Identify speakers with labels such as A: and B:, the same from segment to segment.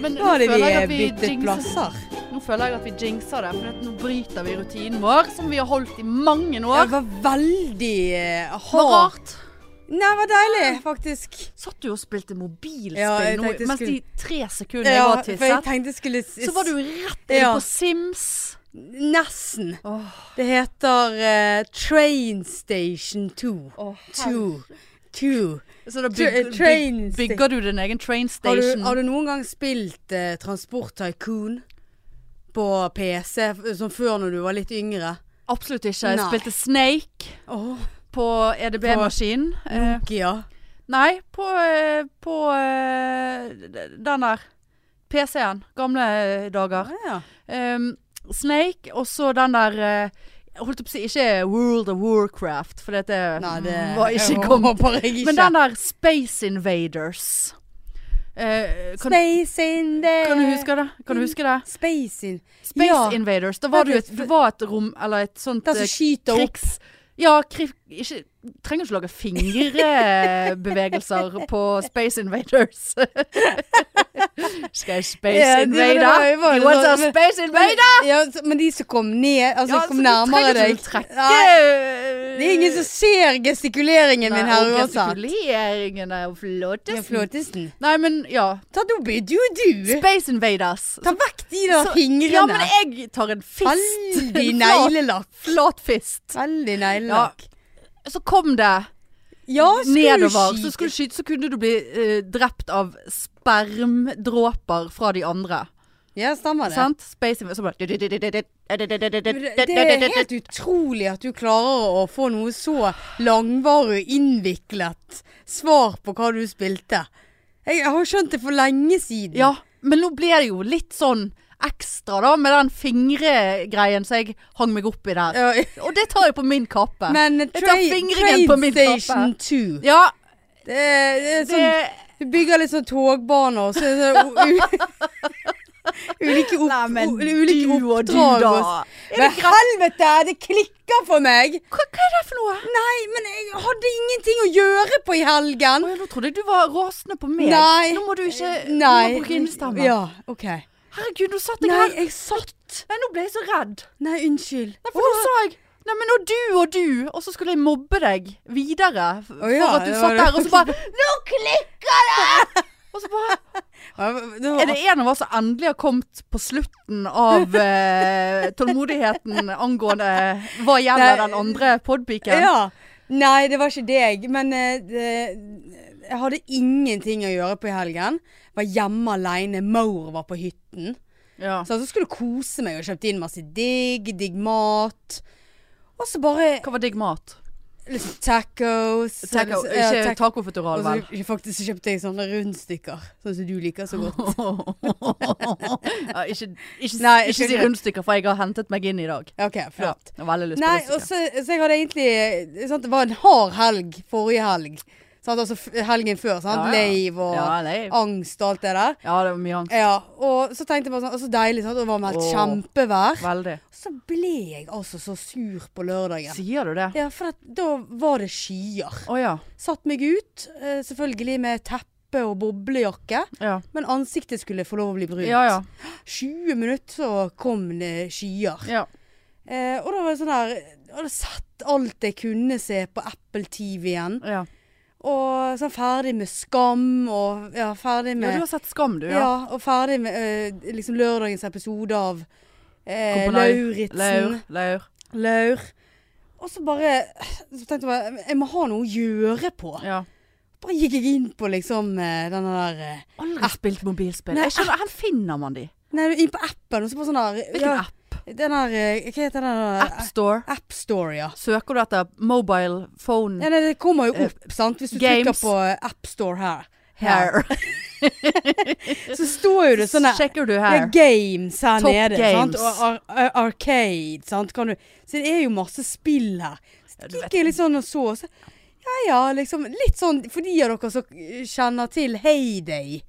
A: Men
B: Da hadde
A: føler
B: vi
A: jeg
B: eh,
A: at
B: byttet
A: jinxer-
B: plasser.
A: Nå føler jeg at vi jinxer det, for at nå bryter vi rutinen vår, som vi har holdt i mange
B: Det
A: år.
B: var veldig eh,
A: Det var
B: hardt.
A: rart.
B: Nei, det var deilig, faktisk.
A: Satt du og spilte mobilspill
B: Ja, jeg
A: nå,
B: tenkte jeg
A: mens de
B: skulle-
A: tre sekundene jeg
B: Ja,
A: var
B: for jeg
A: tisset?
B: tenkte jeg skulle s-
A: Så var du rett inn
B: Ja.
A: på Sims.
B: Nesten.
A: Åh,
B: Det heter eh, Train Station 2.
A: åh, herre.
B: 2. 2.
A: Så da
B: Tra-
A: bygger,
B: train
A: byg-
B: sta-
A: bygger du din egen train
B: Har du,
A: station?
B: har du noen gang spilt eh, Transport Tycoon på PC, f- som før når du var litt yngre?
A: Absolutt ikke. Jeg
B: Nei.
A: spilte Snake
B: Åh,
A: på E EDB-maskin. Eh,
B: Nokia.
A: nei, på, eh, på eh, d- den der PC-en. Gamle eh, dager.
B: Ja.
A: Ehm, Snake, og så den der eh, jeg holdt på å si ikke World of Warcraft, for det
B: Nei, det
A: Mm, var ikke
B: jeg
A: kommet.
B: håper jeg ikke.
A: Men den der Space Invaders Eh, kan,
B: Space in the
A: kan du huske det? Kan du huske det?
B: Space in
A: Space
B: Ja.
A: Invaders. Da var du
B: Det er
A: et,
B: det-
A: du var et rom Eller et sånt
B: Den
A: eh,
B: som skyter opp.
A: krigs... Ja, kri, ikke, trenger ikke lage fingrebevegelser på Space Invaders. Skal jeg Space
B: Ja, det var- det
A: Invader?
B: var- det var-
A: you want
B: det
A: a
B: var-
A: Space Invader?
B: Ja, så- men de som kom ned, altså
A: så
B: kom
A: du
B: nærmere
A: trenger ikke
B: deg
A: å trekke
B: Nei, Det er ingen som ser gestikuleringen min her uansett.
A: Gestikuleringen er jo
B: Ja,
A: flottest.
B: Flåtesen.
A: Nei, men ja.
B: Ta nå blir du du.
A: Space Invaders.
B: Ta vekk de der
A: Så-
B: fingrene.
A: Ja, men jeg tar en fist.
B: Veldig
A: En flat-
B: neglelakk.
A: Flat fist.
B: Veldig neglelakk.
A: Så kom det
B: Ja, skulle du
A: nedover. Så
B: skyte-
A: skulle du skyte, så kunne du bli eh, drept av spermdråper fra de andre.
B: Ja, stemmer det.
A: Sant? Space Invaders. Så
B: Men Det det er
A: bare
B: helt utrolig at du klarer å få noe så langvarig og innviklet svar på hva du spilte. Jeg jeg har skjønt det for lenge siden.
A: Ja, men nå ble det jo litt sånn ekstra da, med den fingregreien som jeg hang meg opp i der.
B: Ja,
A: Og det tar jeg på min kappe.
B: Men
A: tar
B: Train
A: fingringen på min kappe.
B: Station 2
A: ja,
B: Det er, det er
A: det,
B: sånn Du bygger litt sånn togbaner, og så er det u ulike, opp,
A: Nei, men
B: u ulike
A: du og du
B: oppdrag.
A: da.
B: og s- Men helvete, det klikker for meg!
A: hva, hva er det for noe?
B: Nei, men jeg hadde ingenting å gjøre på i helgen.
A: Å, ja, nå trodde jeg du var rasende på meg.
B: Nei.
A: Nå må du ikke nå må
B: Nei.
A: du bruke innestemme.
B: Ja, ok.
A: Herregud, nå satt jeg
B: Nei,
A: her.
B: jeg satt
A: Nei, nå ble jeg så redd.
B: Nei, unnskyld.
A: Nei, for nå sa jeg Nei, men når du og du, og så skulle jeg mobbe deg videre f- for
B: ja,
A: at du
B: det
A: satt
B: var det.
A: der, og så bare Nå klikker det! Og så bare
B: Ja, det var-
A: Er det en av oss som endelig har kommet på slutten av eh, tålmodigheten angående hva gjelder
B: Nei.
A: den andre podpiken?
B: Ja. Nei, det var ikke deg. Men eh, det, jeg hadde ingenting å gjøre på i helgen. Var hjemme aleine. Maur var på hytten.
A: Ja.
B: Så jeg skulle kose meg og kjøpte inn masse digg, digg mat. Og så bare
A: Hva var digg mat?
B: liksom, tacos.
A: Taco,
B: liksom, ja,
A: ikke
B: tac-
A: tacofutteral,
B: Og så
A: vel?
B: faktisk så kjøpte jeg sånne rundstykker, sånn som du liker så godt.
A: ja, ikke ikke,
B: Nei, jeg
A: ikke si
B: skjønner.
A: rundstykker, for jeg har hentet meg inn i dag.
B: OK,
A: Ja,
B: flott.
A: jeg har veldig lyst
B: Nei,
A: på
B: og
A: rundstykker.
B: så, så jeg hadde egentlig sant, Det var en hard helg forrige helg. Sant? Altså f- helgen før. Sant?
A: Ja, ja.
B: Leiv og
A: Ja, leiv.
B: angst og alt det der.
A: Ja, det var mye angst.
B: Ja, og så tenkte jeg bare sånn Og så deilig, sant? Det var meldt
A: Åh.
B: kjempevær.
A: Veldig.
B: Så ble jeg altså så sur på lørdagen.
A: Sier du det?
B: Ja, for at, da var det skyer.
A: Å ja.
B: Satt meg ut, eh, selvfølgelig med teppe og boblejakke.
A: Ja.
B: Men ansiktet skulle få lov å bli brunt.
A: ja ja.
B: 20 minutter så kom det skyer.
A: ja.
B: Eh, og da var det sånn her Jeg hadde sett alt jeg kunne se på Apple TV-en.
A: ja.
B: Og sånn ferdig med Skam, og ja,
A: Ja,
B: ferdig med
A: du har sett Skam, du.
B: Ja, og ferdig med eh, liksom lørdagens episode av eh,
A: Kompani. Laur.
B: Lauritzen.
A: Laur.
B: Laur. Og så bare så tenkte jeg bare, jeg må ha noe å gjøre på.
A: Ja.
B: Bare gikk jeg inn på liksom eh, denne der eh,
A: Aldri spilt mobilspill.
B: Nei,
A: Jeg skjønner, her finner man de.
B: Nei, inn på appen, og så bare sånn der
A: Hvilken
B: ja,
A: app?
B: Den der eh, Hva heter den der?
A: Appstore?
B: Appstore, ja.
A: Søker du etter mobile phone
B: ja. Nei, det kommer jo
A: Eh,
B: opp, sant. Hvis du
A: games.
B: trykker på Appstore her,
A: hair?
B: så står jo det sånn der
A: Sjekker du
B: Ja,
A: her?
B: games her
A: Top
B: nede. Sant?
A: games.
B: Og ar ar arcade. Sant? Kan du? Så det er jo masse spill her. Så
A: du vet.
B: gikk jeg litt sånn og så, og så Ja ja, liksom. Litt sånn for de av dere som eh, kjenner til Heyday.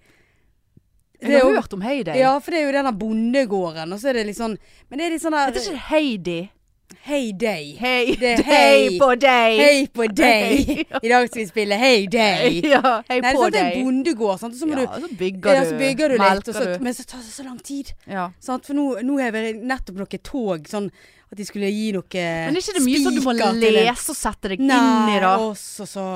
B: Det
A: Jeg
B: er
A: har
B: jo,
A: hørt om Heyday.
B: ja, for det er jo den der bondegården, og så er det litt sånn Men det er litt sånn
A: Heter
B: der
A: ikke Heidi?
B: Hey Day.
A: Hei,
B: Det er
A: hei
B: hei.
A: på deg!
B: Hei på day!
A: Hei.
B: I dag skal vi spille Hey Day.
A: Ja, hei
B: Nei, det er
A: på
B: sånn at det er
A: deg.
B: en bondegård, sant? og så må
A: Ja, så
B: du,
A: bygger
B: ja,
A: du,
B: så bygger du litt, og så,
A: melker du.
B: men så tar det så lang tid.
A: Ja.
B: Sant? For nå, nå har vi nettopp noe tog, sånn at de skulle gi noe
A: Men er ikke det mye sånn du må
B: spiker til en-
A: lese og sette deg inn i, da?
B: Nei, også så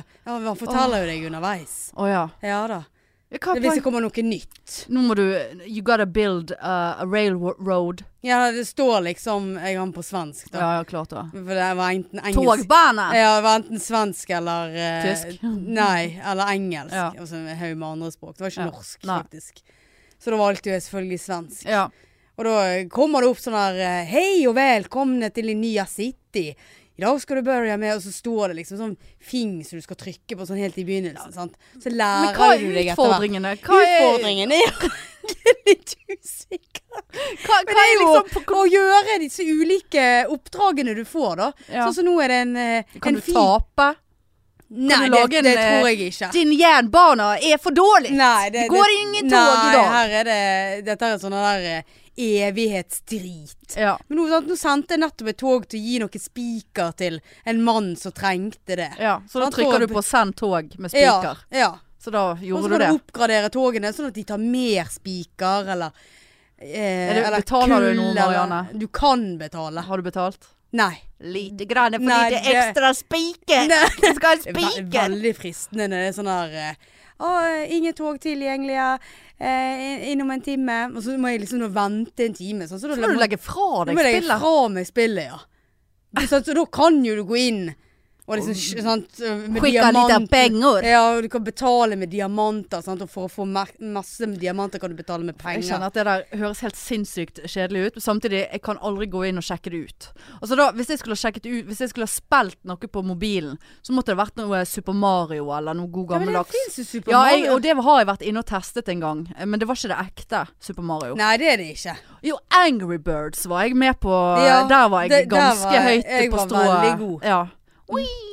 B: Ja, man forteller jo deg underveis.
A: Å ja.
B: Ja da.
A: Ja, Hva
B: Det- Hvis det kommer noe nytt.
A: Nå må du You gotta build uh, a railroad.
B: Ja, det står liksom Jeg har den på svensk, da.
A: Ja, ja, klart det.
B: For det var enten engelsk Eh,
A: Togbane!
B: Ja, det var enten svensk eller eh,
A: Tysk.
B: Nei, eller engelsk. Altså,
A: Ja.
B: Og så en haug med andre språk. Det var ikke
A: Ja.
B: norsk,
A: Nei.
B: faktisk. Så da valgte jeg selvfølgelig svensk.
A: Ja.
B: Og da kommer det opp sånn her eh, Hei og velkomne til Nya City. I dag skal du begynne med Og så står det liksom sånn fing som du skal trykke på sånn helt i begynnelsen. Sant? Så
A: Men hva
B: lærer
A: er
B: du deg etter hvert.
A: utfordringene? Hva er,
B: Utfordringen er Jeg er litt usikker.
A: hva,
B: Men
A: hva
B: det
A: er
B: er jo
A: liksom
B: å gjøre disse ulike oppdragene du får, da.
A: Ja.
B: Sånn som nå er det en, eh,
A: Kan
B: en
A: du tape?
B: Nei,
A: du lage
B: det,
A: en,
B: det
A: eh,
B: tror jeg ikke.
A: Din jernbane er for dårlig!
B: Nei, det,
A: Det går ingen tog
B: nei,
A: i dag.
B: Her er det, dette er sånn der eh, evighetsdrit.
A: Ja.
B: Men nå, sant, nå sendte jeg nettopp et tog til å gi noen spiker til en mann som trengte det.
A: ja. Så da
B: Han tror-
A: trykker du på 'send tog' med spiker.
B: Ja, ja.
A: Så da
B: Og så
A: gjorde
B: kan
A: du det.
B: du oppgradere togene sånn at de tar mer spiker, eller eh,
A: Er det-
B: eller
A: betaler du
B: kull,
A: noe,
B: eller-
A: Marianne?
B: Du kan betale.
A: Har du betalt?
B: Nei.
A: Lite grann, fordi
B: Nei,
A: det
B: det-
A: er ekstra spiker!
B: Nei.
A: Du skal ha
B: Det er ve-
A: spiker!
B: veldig fristende når det er sånn der eh, Å, ingen tog tilgjengelige. Eh, in- innom en time. Og så må jeg liksom nå vente en time. Sånn, så da
A: Så må du legge fra
B: da
A: deg
B: må jeg legge
A: spillet.
B: fra meg spillet, ja. sånn, Så, så da kan jo du gå inn og liksom sk- sant, med
A: Skicka lite
B: diamanten.
A: penger.
B: Ja, og du kan betale med diamanter, sant? og for å få mer- masse med diamanter kan du betale med
A: Jeg
B: penger.
A: kjenner at det der høres helt sinnssykt kjedelig ut. men Samtidig, jeg kan aldri gå inn og sjekke det ut. Altså da, hvis jeg skulle ha sjekket ut Hvis jeg skulle ha spilt noe på mobilen, så måtte det vært noe Super Mario eller noe god
B: Ja, men det
A: gammeldags.
B: fins jo Super
A: Ja, jeg,
B: Mario.
A: og det har jeg vært inne og testet en gang, eh, men det var ikke det ekte Super Mario.
B: Nei, det er det ikke.
A: Jo, Angry Birds var jeg med på.
B: Ja,
A: der var jeg
B: det- der
A: ganske
B: var jeg-
A: høyt
B: jeg
A: på
B: var
A: strået.
B: veldig god.
A: Ja.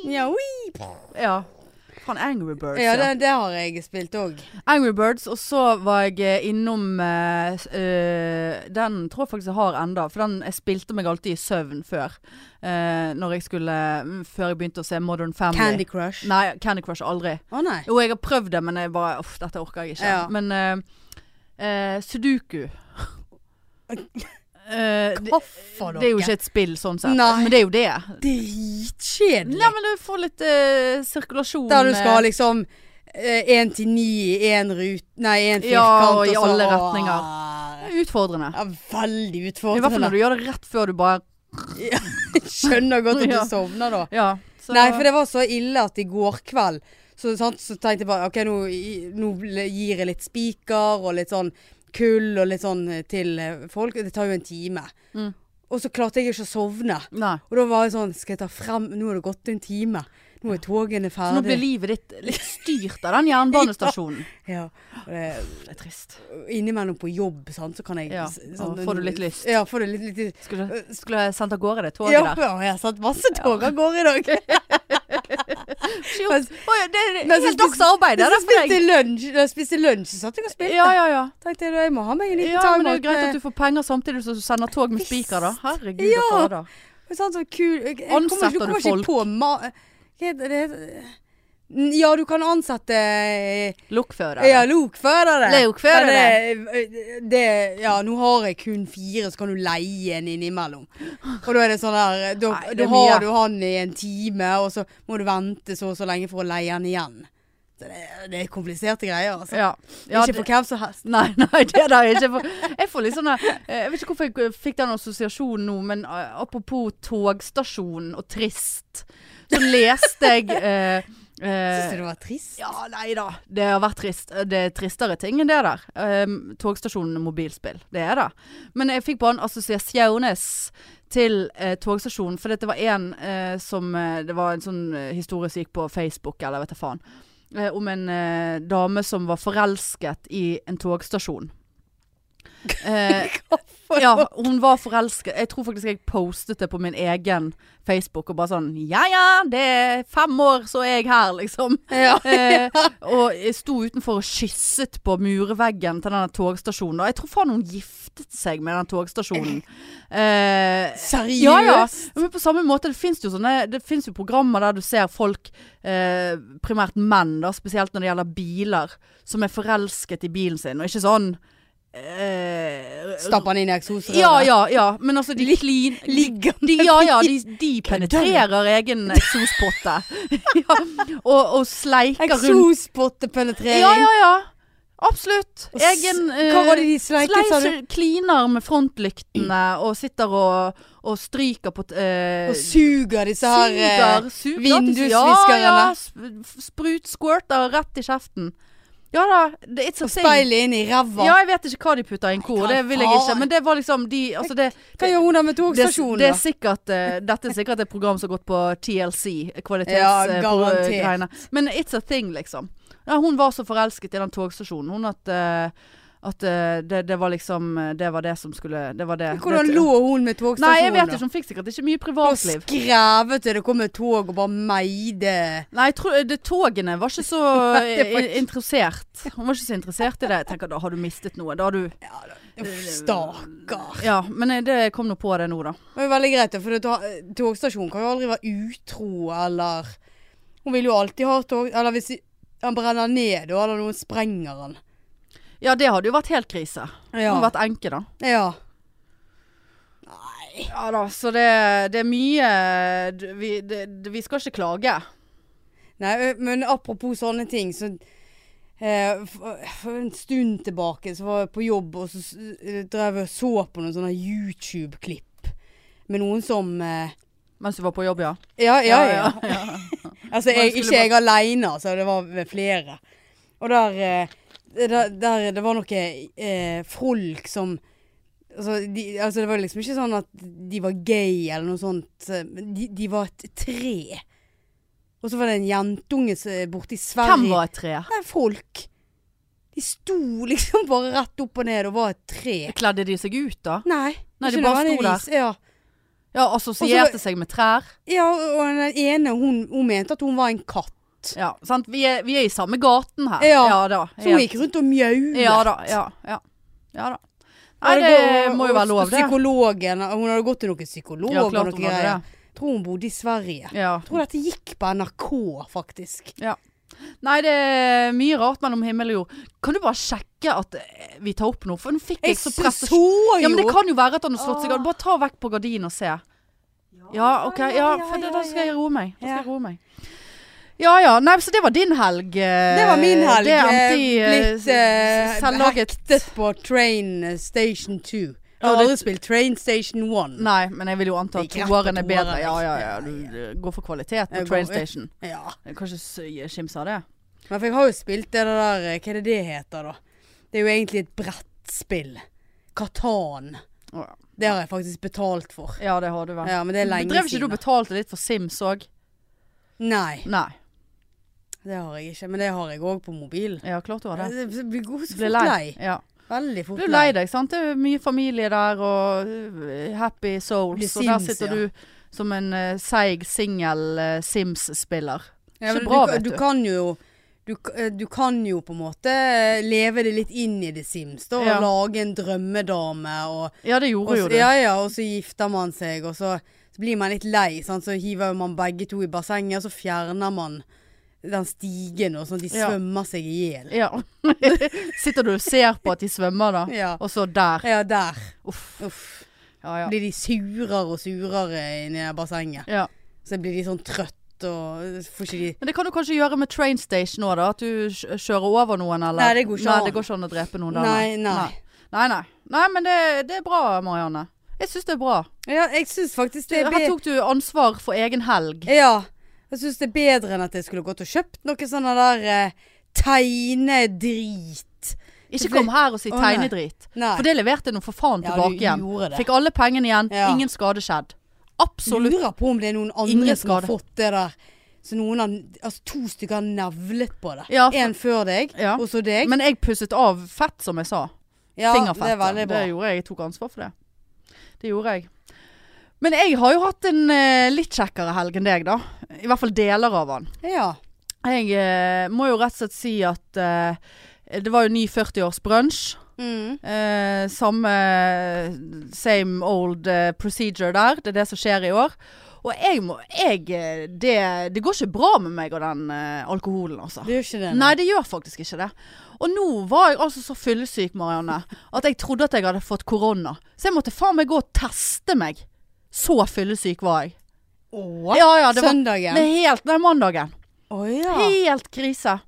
B: Ja, oi.
A: ja. Faen, Angry Birds.
B: ja det, det har jeg spilt òg.
A: Angry Birds, og så var jeg eh, innom eh, s- eh, Den tror jeg faktisk jeg har enda For den jeg spilte meg alltid i søvn før. eh, når jeg skulle mm, Før jeg begynte å se Modern Family.
B: Candy Crush.
A: Nei, Candy Crush aldri.
B: Å nei.
A: Jo, jeg har prøvd det, men jeg bare Uff, dette orker jeg ikke.
B: Ja.
A: Men eh, eh, Sudoku Eh, det,
B: Hva for
A: det er jo ikke et spill sånn sett,
B: Nei.
A: men det er jo det.
B: dritkjedelig.
A: Nei, men du får litt eh, sirkulasjon.
B: Der du skal ha
A: eh,
B: liksom én til ni i én rute Nei, én
A: Ja,
B: firkant.
A: og i
B: så-
A: alle
B: Åh.
A: retninger. Utfordrende.
B: Ja, veldig
A: I hvert fall
B: utfordrende.
A: når du gjør det rett før du bare
B: Skjønner godt at
A: Ja.
B: du sovner da.
A: Ja. Så,
B: Nei, for det var så ille at i går kveld så, sant, så tenkte jeg bare OK, nå, i- nå ble- gir jeg litt spiker og litt sånn kull og litt sånn eh, til eh, folk. Det tar jo en time.
A: Mm.
B: Og så klarte jeg ikke å sovne.
A: Nei.
B: Og da var jeg sånn Skal jeg ta frem Nå har det gått en time. Nå er togene
A: Så nå blir
B: ferdig.
A: livet ditt litt styrt av den jernbanestasjonen.
B: Ja. Og det-
A: Det er trist.
B: innimellom på jobb, sant, så kan jeg
A: Ja,
B: s-
A: og
B: sånn-
A: får du litt lyst.
B: Ja, får du litt, litt lyst.
A: Skulle, skulle jeg sendt av gårde det toget
B: Ja,
A: der?
B: ja, jeg har satt masse tog av gårde i dag.
A: Jo, oi,
B: Men-
A: det er
B: men så
A: helt
B: spis-
A: dags arbeid. Det
B: Jeg
A: er derfor
B: spiste
A: jeg
B: lunsj, da jeg spiste lunsj, så satt jeg og spilte.
A: Ja, ja, ja.
B: Tenkte jeg, jeg må ha meg en liten eh,
A: Ja, men det er
B: timeout.
A: jo greit at
B: med-
A: du får penger samtidig som du sender tog med spiker, da. Herregud
B: Ja.
A: og fader.
B: Sånn så kul. Jeg, jeg
A: Ansetter
B: kommer,
A: du
B: ikke- kommer ikke på ma... Hva heter det? N- Ja, du kan ansette eh,
A: Lokfører.
B: ja, lokførere.
A: Lokførere.
B: Men Det, det, ja, nå har jeg kun fire, så kan du leie en innimellom. Og da er det sånn der Da,
A: Nei, det er
B: da
A: mye.
B: har du han i en time, og så må du vente så og så lenge for å leie han igjen. Så det, det er kompliserte greier, altså.
A: Ja. Ja,
B: ikke
A: det-
B: for hvem som helst.
A: Nei, nei, det er det ikke. For, jeg får litt sånn der- eh, Jeg vet ikke hvorfor jeg fikk den assosiasjonen nå, men eh, apropos togstasjon og trist, så leste jeg eh, eh,
B: Syns du det var trist?
A: Ja, nei da. Det har vært trist. Det er tristere ting enn det der. Um, togstasjonen og mobilspill. Det er det. Men jeg fikk bare en assosiasjones til eh, togstasjonen, for det var en eh, som eh, Det var en sånn eh, historie som gikk på Facebook, eller vet da faen. Eh, om en eh, dame som var forelsket i en togstasjon. Eh, ja, hun var forelsket. Jeg tror faktisk jeg postet det på min egen Facebook og bare sånn Ja ja, det er fem år så er jeg her, liksom.
B: Ja.
A: Eh, og jeg sto utenfor og kysset på murveggen til denne togstasjonen. Og jeg tror faen hun giftet seg med den togstasjonen. Eh,
B: Seriøst?
A: ja, ja. Men på samme måte, det fins jo sånne Det finnes jo programmer der du ser folk, eh, primært menn, da, spesielt når det gjelder biler, som er forelsket i bilen sin, og ikke sånn eh,
B: Stapp han inn i eksosrøret?
A: ja, ja, ja. Men altså, de klin...
B: Ligger
A: De, ja, ja, de, de penetrerer egen eksospotte. ja. og, og sleiker rundt.
B: Eksospotte-penetrering?
A: Ja, ja, ja. Absolutt.
B: Og s-
A: Egen eh,
B: Hva var det de sleiket, sa du? Mm.
A: Sleiser kliner med frontlyktene og sitter og, og stryker på t- eh,
B: Og suger disse her eh,
A: suger, suger,
B: vindusviskerne.
A: Ja, ja. sp- f- Sprut squirter rett i kjeften. Ja da. det- It's a thing.
B: Speilet inn i ræva.
A: Ja, jeg vet ikke hva de putter i en ko.
B: Hva
A: Det vil jeg ikke.
B: faen?
A: Men det var liksom de Altså, det
B: Hva gjør hun da med
A: det,
B: togstasjonen?
A: det er
B: da?
A: sikkert, eh, dette er sikkert et program som har gått på TLC.
B: Ja,
A: Kvalitetsgreiene.
B: garantert.
A: eh, Men it's a thing, liksom. Ja, hun var så forelsket i den togstasjonen. Hun at, eh, at eh, det, det var liksom eh, Det var det som skulle Det var det.
B: Men Hvordan lå hun med togstasjonen?
A: Nei, jeg vet
B: da?
A: ikke. Hun fikk sikkert ikke mye
B: Og
A: privatliv.
B: skrevete, det kom et tog og bare meide
A: Nei, jeg tror, eh, det, togene var ikke så
B: Nei, det var
A: eh, interessert. Hun var ikke så interessert i det. Jeg tenker, da har du mistet noe. Da har du
B: ja, da- Uff, Stakkar.
A: Ja, men eh, det jeg kom nå på det nå, da.
B: Det var jo veldig greit, da, for det- to- togstasjonen kan jo aldri være utro eller Hun vil jo alltid ha tog Eller hvis de- han brenner ned, da, eller noen sprenger han.
A: Ja, det hadde jo vært helt krise. Hun
B: Ja.
A: hadde vært enke, da.
B: ja.
A: Ja da, så det, det er mye du- vi, det, det- vi skal ikke klage.
B: Nei, ø, men apropos sånne ting, så eh, for, for en stund tilbake så var jeg på jobb, og så s- eh, drev jeg og så på noen sånne YouTube-klipp med noen som eh,
A: Mens du var på jobb, ja.
B: Ja, ja, ja.
A: ja.
B: Altså,
A: Bare
B: jeg,
A: skulle
B: ikke jeg aleine, altså. Det var med flere. Og der, eh, der, der Det var noe eh, folk som altså, de, altså, det var liksom ikke sånn at de var gay eller noe sånt. eh, men De, de var et tre. Og så var det en jentunge som er borte i Sverige.
A: Hvem var et tre?
B: Nei, folk. De sto liksom bare rett opp og ned og var et tre.
A: Kledde de seg ut, da?
B: Nei.
A: Nei, de
B: ikke
A: bare sto
B: nødvendigvis. Ja.
A: Ja, assosierte
B: Og
A: seg med trær.
B: ja, og den ene, hun, hun mente at hun var en katt.
A: Ja, sant? Vi er, vi er i samme gaten her.
B: Ja.
A: da.
B: Så hun
A: helt-
B: gikk rundt og mjauet.
A: Ja da. Ja, ja. ja da. Nei,
B: Og
A: det
B: går-
A: må jo være lov,
B: og
A: det.
B: Psykologen, hun hadde gått til noen psykolog
A: Ja,
B: og
A: klart
B: noen
A: hun hadde
B: greier.
A: det.
B: Tror hun bodde i Sverige.
A: Ja.
B: Tror dette gikk på NRK, faktisk.
A: Nei, det er mye rart mellom himmel og jord. Kan du bare sjekke at eh, vi tar opp noe? For nå fikk jeg
B: Jeg
A: så
B: så,
A: press og
B: så jo!
A: Ja, men det kan jo være at han har slått seg av. Bare ta vekk på gardinen og se. Ja, ok. Ja, for da- da skal jeg roe meg. Da skal jeg roe meg. Ja ja. Nei, så det var din helg. eh,
B: Det var min helg.
A: Det endte i
B: eh,
A: eh,
B: blitt eh,
A: s- selvlaget
B: hektet på Train eh, Station 2. Jeg
A: Ja,
B: har
A: det-
B: aldri spilt Train Station 1.
A: Nei, men jeg vil jo anta at
B: Det gikk rett på
A: toeren er bedre.
B: toeren,
A: Ja ja ja.
B: liksom.
A: Du eh, går for kvalitet på
B: Jeg går-
A: Train Station.
B: Ja.
A: Jeg kan ikke s- skimse av det.
B: Men for jeg har jo spilt det der eh, Hva er det det heter, da? Det er jo egentlig et brettspill. Katan.
A: Å, ja.
B: Det har jeg faktisk betalt for.
A: Ja, det har du vel.
B: Ja, men det er lenge
A: Drev ikke du
B: siden.
A: og
B: da.
A: betalte litt for Sims òg?
B: Nei,
A: Nei.
B: det har jeg ikke. Men det har jeg òg på mobilen.
A: Ja, klart du har det.
B: Jeg blir god så
A: Ble
B: Eh, fort lei.
A: Ja.
B: Veldig fort
A: Du er lei deg, sant? Det er mye familie der og uh, happy souls.
B: Blir
A: og der
B: Sims,
A: sitter
B: ja.
A: du som en uh, seig singel uh, Sims-spiller.
B: Ja, men
A: Ikke bra,
B: du,
A: vet
B: du.
A: du.
B: Kan jo, du, k- eh, du kan jo på en måte eh, leve det litt inn i The Sims. Da, og
A: Ja.
B: Lage en drømmedame. Og,
A: Ja, det
B: og,
A: gjorde jo
B: så,
A: du.
B: ja, ja, og så gifter man seg, og så, så blir man litt lei. Sant? Så hiver man begge to i bassenget, og så fjerner man den stigen, og sånn at de
A: Ja.
B: svømmer seg i hjel.
A: Ja. sitter du og ser på at de svømmer, da.
B: Ja.
A: Og så der.
B: ja, der.
A: Uff.
B: Uff.
A: Ja, ja.
B: Blir de surere og surere inni det bassenget.
A: ja.
B: Så blir de sånn trøtt og får ikke de
A: Men det kan du kanskje gjøre med train station òg, da. At du kj- kjører over noen, eller
B: Nei, det går ikke
A: Nei,
B: an.
A: det går ikke an å drepe noen der.
B: Nei, nei.
A: Nei, nei. Nei, men det, det er bra, Marianne. Jeg syns det er bra.
B: Ja, jeg syns faktisk
A: Du,
B: det er
A: her
B: be-
A: tok du ansvar for egen helg.
B: Ja. Jeg syns det er bedre enn at jeg skulle gått og kjøpt noe sånne der eh, tegnedrit.
A: Ikke kom her og si
B: Å, nei.
A: tegnedrit.
B: Nei.
A: For det leverte jeg nå for faen
B: Ja,
A: tilbake
B: du
A: igjen.
B: gjorde det.
A: Fikk alle pengene igjen.
B: Ja.
A: Ingen skade skjedd. Absolutt.
B: Lurer på om det er noen andre
A: Ingen
B: som har
A: skade.
B: fått det der. Så noen har, altså to stykker har nevlet på det.
A: Ja, for-
B: en før deg,
A: Ja.
B: og så deg.
A: Men jeg pusset av fett, som jeg sa.
B: Ja,
A: fingerfett.
B: det er veldig bra.
A: Det gjorde jeg. Jeg tok ansvar for det. Det gjorde jeg. Men jeg har jo hatt en eh, litt kjekkere helg enn deg, da. I hvert fall deler av den.
B: Ja.
A: Jeg eh, må jo rett og slett si at eh, det var jo ny 40-årsbrunsj.
B: Mm.
A: Eh, samme same old eh, procedure der. Det er det som skjer i år. Og jeg må jeg, eh, det, det går ikke bra med meg og den eh, alkoholen, altså.
B: Det gjør ikke det.
A: Nei, det gjør faktisk ikke det. Og nå var jeg altså så fyllesyk, Marianne, at jeg trodde at jeg hadde fått korona. Så jeg måtte faen meg gå og teste meg. Så fyllesyk var jeg.
B: Åh,
A: Ja, ja, det var
B: Søndagen.
A: det er helt den mandagen.
B: Å ja.
A: Helt krise.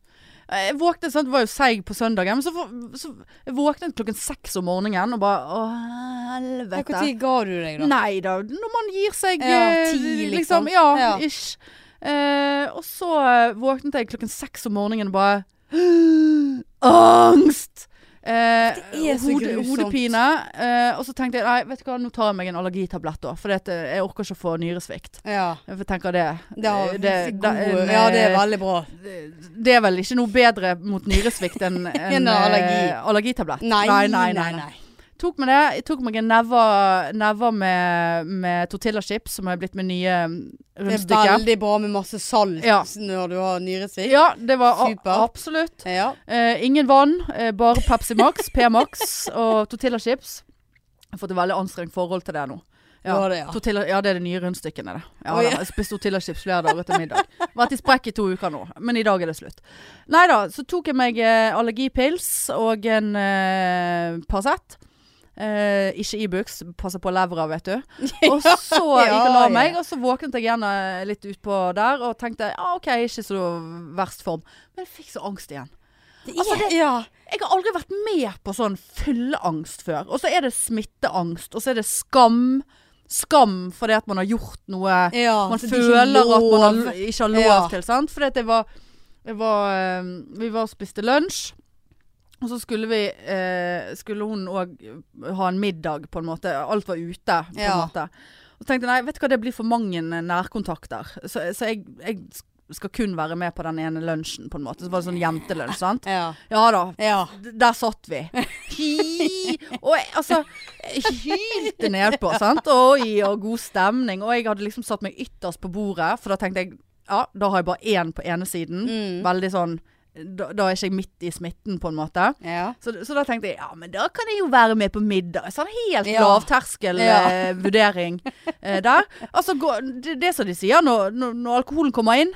A: Jeg våknet, sant, var jo seig på søndagen, men så, vå- så jeg våknet klokken seks om morgenen og bare Å,
B: Ja, Hvor
A: helvete.
B: tid ga du deg, da?
A: Nei da, når man gir seg
B: Ja,
A: eh,
B: ti, liksom.
A: Ja,
B: Ja.
A: ish. Eh, og så eh, våknet jeg klokken seks om morgenen og bare Angst! Eh,
B: Det er så grusomt.
A: hodepine. Eh, og så tenkte jeg nei, vet du hva, nå tar jeg meg en allergitablett, da. For det, eh, jeg orker ikke å få nyresvikt.
B: Ja.
A: Jeg tenker det eh,
B: Det, har,
A: det, eh,
B: god, ja, det er veldig bra.
A: det er vel ikke noe bedre mot nyresvikt enn
B: Enn
A: en,
B: allergi.
A: eh, allergitablett.
B: Nei, nei, nei. nei,
A: Tok med det. Jeg tok meg en neve neve med, med tortillachips, som har blitt med nye mm,
B: Det er
A: rundstykker.
B: veldig bra med masse salt
A: Ja.
B: når du har nyresvikt.
A: Ja, det var a-
B: Supert.
A: absolutt.
B: Ja.
A: Eh, ingen vann, eh, bare Pepsi Max, P-Max og tortillachips. Jeg har fått et veldig anstrengt forhold til det nå.
B: Du har det, ja.
A: Tortilla, ja, det er de nye rundstykkene, det. Ja,
B: Oi.
A: da, jeg spiste tortillachips flere dager til middag. Vært i sprekk i to uker nå, men i dag er det slutt. Nei da, så tok jeg meg eh, allergipils og en eh, Paracet. Eh, ikke Ibux, passer på levra, vet du. Og så
B: Ja,
A: gikk jeg og la
B: ja.
A: meg, og så våknet jeg igjen eh, litt utpå der og tenkte ja, OK, ikke så verst form. Men jeg fikk så angst igjen.
B: Altså, det, ja.
A: Jeg har aldri vært med på sånn fylleangst før. Og så er det smitteangst, og så er det skam. Skam fordi at man har gjort noe
B: ja.
A: Man
B: så det er ikke
A: føler at man
B: lov.
A: har, ikke har lov
B: Ja.
A: til, sant? Fordi at jeg var, jeg var eh, Vi var og spiste lunsj. Og så skulle vi eh, Skulle hun òg ha en middag, på en måte. Alt var ute, på en
B: Ja.
A: måte. Og så tenkte jeg nei, vet du hva, det blir for mange nærkontakter. Så, så jeg, jeg skal kun være med på den ene lunsjen, på en måte. Så var det sånn jentelunsj, sant.
B: Ja.
A: Ja da,
B: ja.
A: D- Der satt vi. Hi, og jeg, altså jeg hylte nedpå, sant. Oi, og god stemning. Og jeg hadde liksom satt meg ytterst på bordet, for da tenkte jeg ja, da har jeg bare én på ene siden.
B: Mm.
A: Veldig sånn da, da er ikke jeg midt i smitten, på en måte.
B: ja.
A: Så, så da tenkte jeg ja, men da kan jeg jo være med på middag. Sånn helt
B: Ja. Ja.
A: lavterskelvurdering eh, der. Altså, gå, det, det som de sier når, når, når alkoholen kommer inn,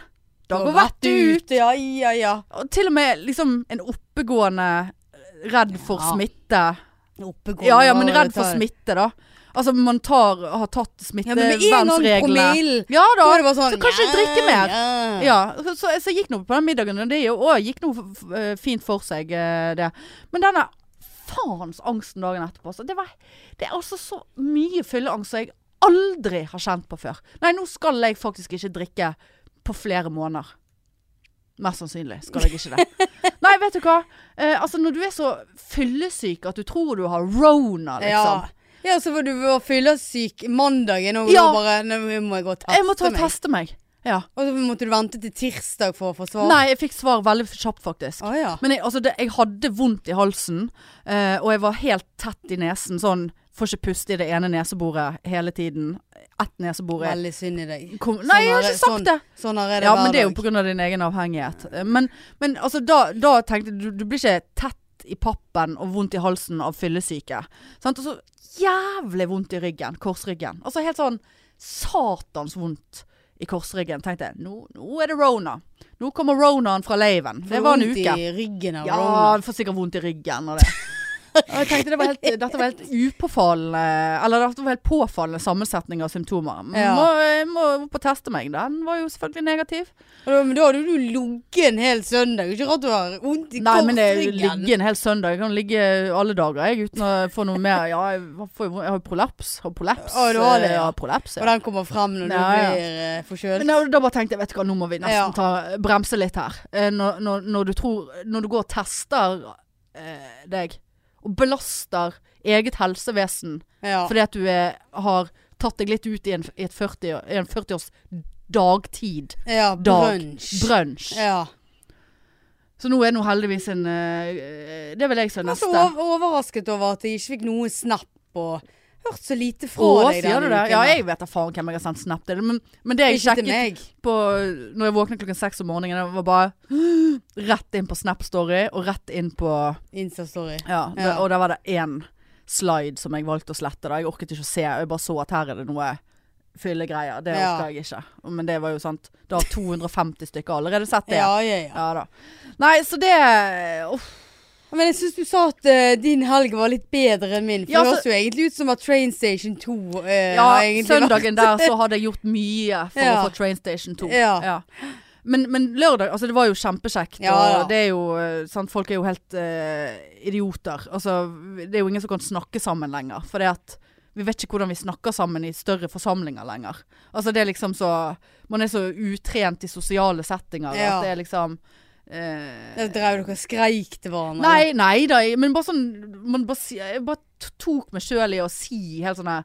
A: da går vettet ut.
B: Ja, ja, ja.
A: Og til og med liksom en oppegående eh, redd for
B: Ja.
A: smitte.
B: Oppegående.
A: Ja ja, men
B: hva
A: redd
B: det
A: for
B: tar.
A: smitte, da. Altså man tar, har tatt
B: Ja, men med en gang
A: smittevernreglene.
B: promillen
A: Ja da.
B: Da er det bare sånn
A: Så kanskje jeg drikker mer.
B: Ja.
A: Ja, så, så jeg gikk nå på den middagen, og det er jo òg gikk noe f- f- eh, fint for seg, eh, det. Men denne faens angsten dagen etterpå, så det var Det er altså så mye fylleangst som jeg aldri har kjent på før. Nei, nå skal jeg faktisk ikke drikke på flere måneder. Mest sannsynlig skal jeg ikke det. Nei, vet du hva. Eh, altså, når du er så fyllesyk at du tror du har rona, liksom.
B: Ja. ja, så var du var fyllesyk mandagen, og
A: Ja.
B: du bare Nå må jeg gå og teste
A: jeg må ta og
B: meg.
A: teste meg. Ja.
B: Og så måtte du vente til tirsdag for å få svar?
A: Nei, jeg fikk svar veldig kjapt, faktisk.
B: Å ja.
A: Men jeg, altså det, jeg hadde vondt i halsen, eh, og jeg var helt tett i nesen. Sånn, får ikke puste i det ene neseboret hele tiden. Ett nesebor er
B: Veldig synd i deg.
A: Kom, Nei, jeg har
B: er-
A: ikke sagt
B: sånn,
A: det!
B: Sånn her er det
A: Ja,
B: hver
A: men det er jo
B: dag.
A: pga. din egen avhengighet. Eh, Men, men altså, da, da tenkte jeg du, du blir ikke tett i pappen og vondt i halsen av fyllesyke. Sant? Og så jævlig vondt i ryggen. Korsryggen. Altså helt sånn satans vondt i korsryggen. Tenkte jeg, nå, nå er det rona. Nå kommer ronaen fra laven. Det var en
B: Vondt
A: uke.
B: I ryggen av
A: Ja,
B: Rona.
A: du får sikkert vondt i ryggen og det. Og jeg tenkte det var helt, dette var helt upåfallende Eller dette var helt påfallende sammensetning av symptomer.
B: Ja.
A: Må, jeg må opp og teste meg. Den var jo selvfølgelig negativ.
B: Og da- Men da hadde du ligget en hel søndag. Ikke rart du har vondt i
A: Nei, men jeg
B: korsryggen.
A: ligger en hel søndag. Jeg kan ligge alle dager jeg, uten å få noe mer. Ja, jeg får jo- jeg har jo prolaps. Har prolaps. eh,
B: Å, du har det, ja.
A: Ja, prolaps,
B: Og
A: ja.
B: den kommer frem når
A: Ja, ja.
B: du blir eh, forkjølet.
A: Men da, da bare tenkte jeg, vet du hva, nå må vi nesten
B: Ja.
A: ta, bremse litt her. Eh, Når, når, når, du tror, når du går og tester eh, deg, og belaster eget helsevesen
B: Ja.
A: Fordi at du er, har tatt deg litt ut i en, i et 40, år- i en 40 års dagtid.
B: ja,
A: Dag.
B: brunch.
A: Brunsj.
B: Ja.
A: Så nå er det nå heldigvis en eh, Det vil jeg si
B: Jeg var
A: neste.
B: så ov- overrasket over at jeg ikke fikk noe snapp og hørt så lite fra
A: Å,
B: deg.
A: sier
B: denne
A: du det?
B: uken
A: Ja,
B: her.
A: jeg vet da faen hvem jeg har sendt snap til. Men, men det jeg
B: Ikke til
A: sjekket
B: meg.
A: på Når jeg våknet klokken seks om morgenen, det var bare rett inn på Snap-story og rett inn på
B: Insta-story.
A: Ja, det,
B: Ja.
A: og der var det én slide som jeg valgte å slette. Da. Jeg orket ikke å se, jeg bare så at her er det noe fyllegreier. Det
B: Ja.
A: orka jeg ikke. Men det var jo sant. Da har 250 stykker allerede sett det.
B: Ja, ja, ja.
A: Ja da. Nei, så det Uff.
B: Men jeg syns du sa at eh, din helg var litt bedre enn min. For
A: Ja,
B: det
A: så-
B: høres jo egentlig ut som at Train Station 2 uh,
A: Ja,
B: egentlig vært-
A: søndagen der så hadde jeg gjort mye for
B: Ja.
A: å få Train Station 2.
B: Ja.
A: Men, men lørdag Altså, det var jo kjempekjekt.
B: Ja, da.
A: og det er jo eh, sant, Folk er jo helt eh, idioter. Altså, det er jo ingen som kan snakke sammen lenger. For det at vi vet ikke hvordan vi snakker sammen i større forsamlinger lenger. Altså, det er liksom så Man er så utrent i sosiale settinger
B: Ja.
A: at det er liksom eh,
B: Der drev dere og skreik til hverandre.
A: Nei, nei da, jeg- men bare sånn man bare, si- Jeg bare t- tok meg sjøl i å si helt sånne eh,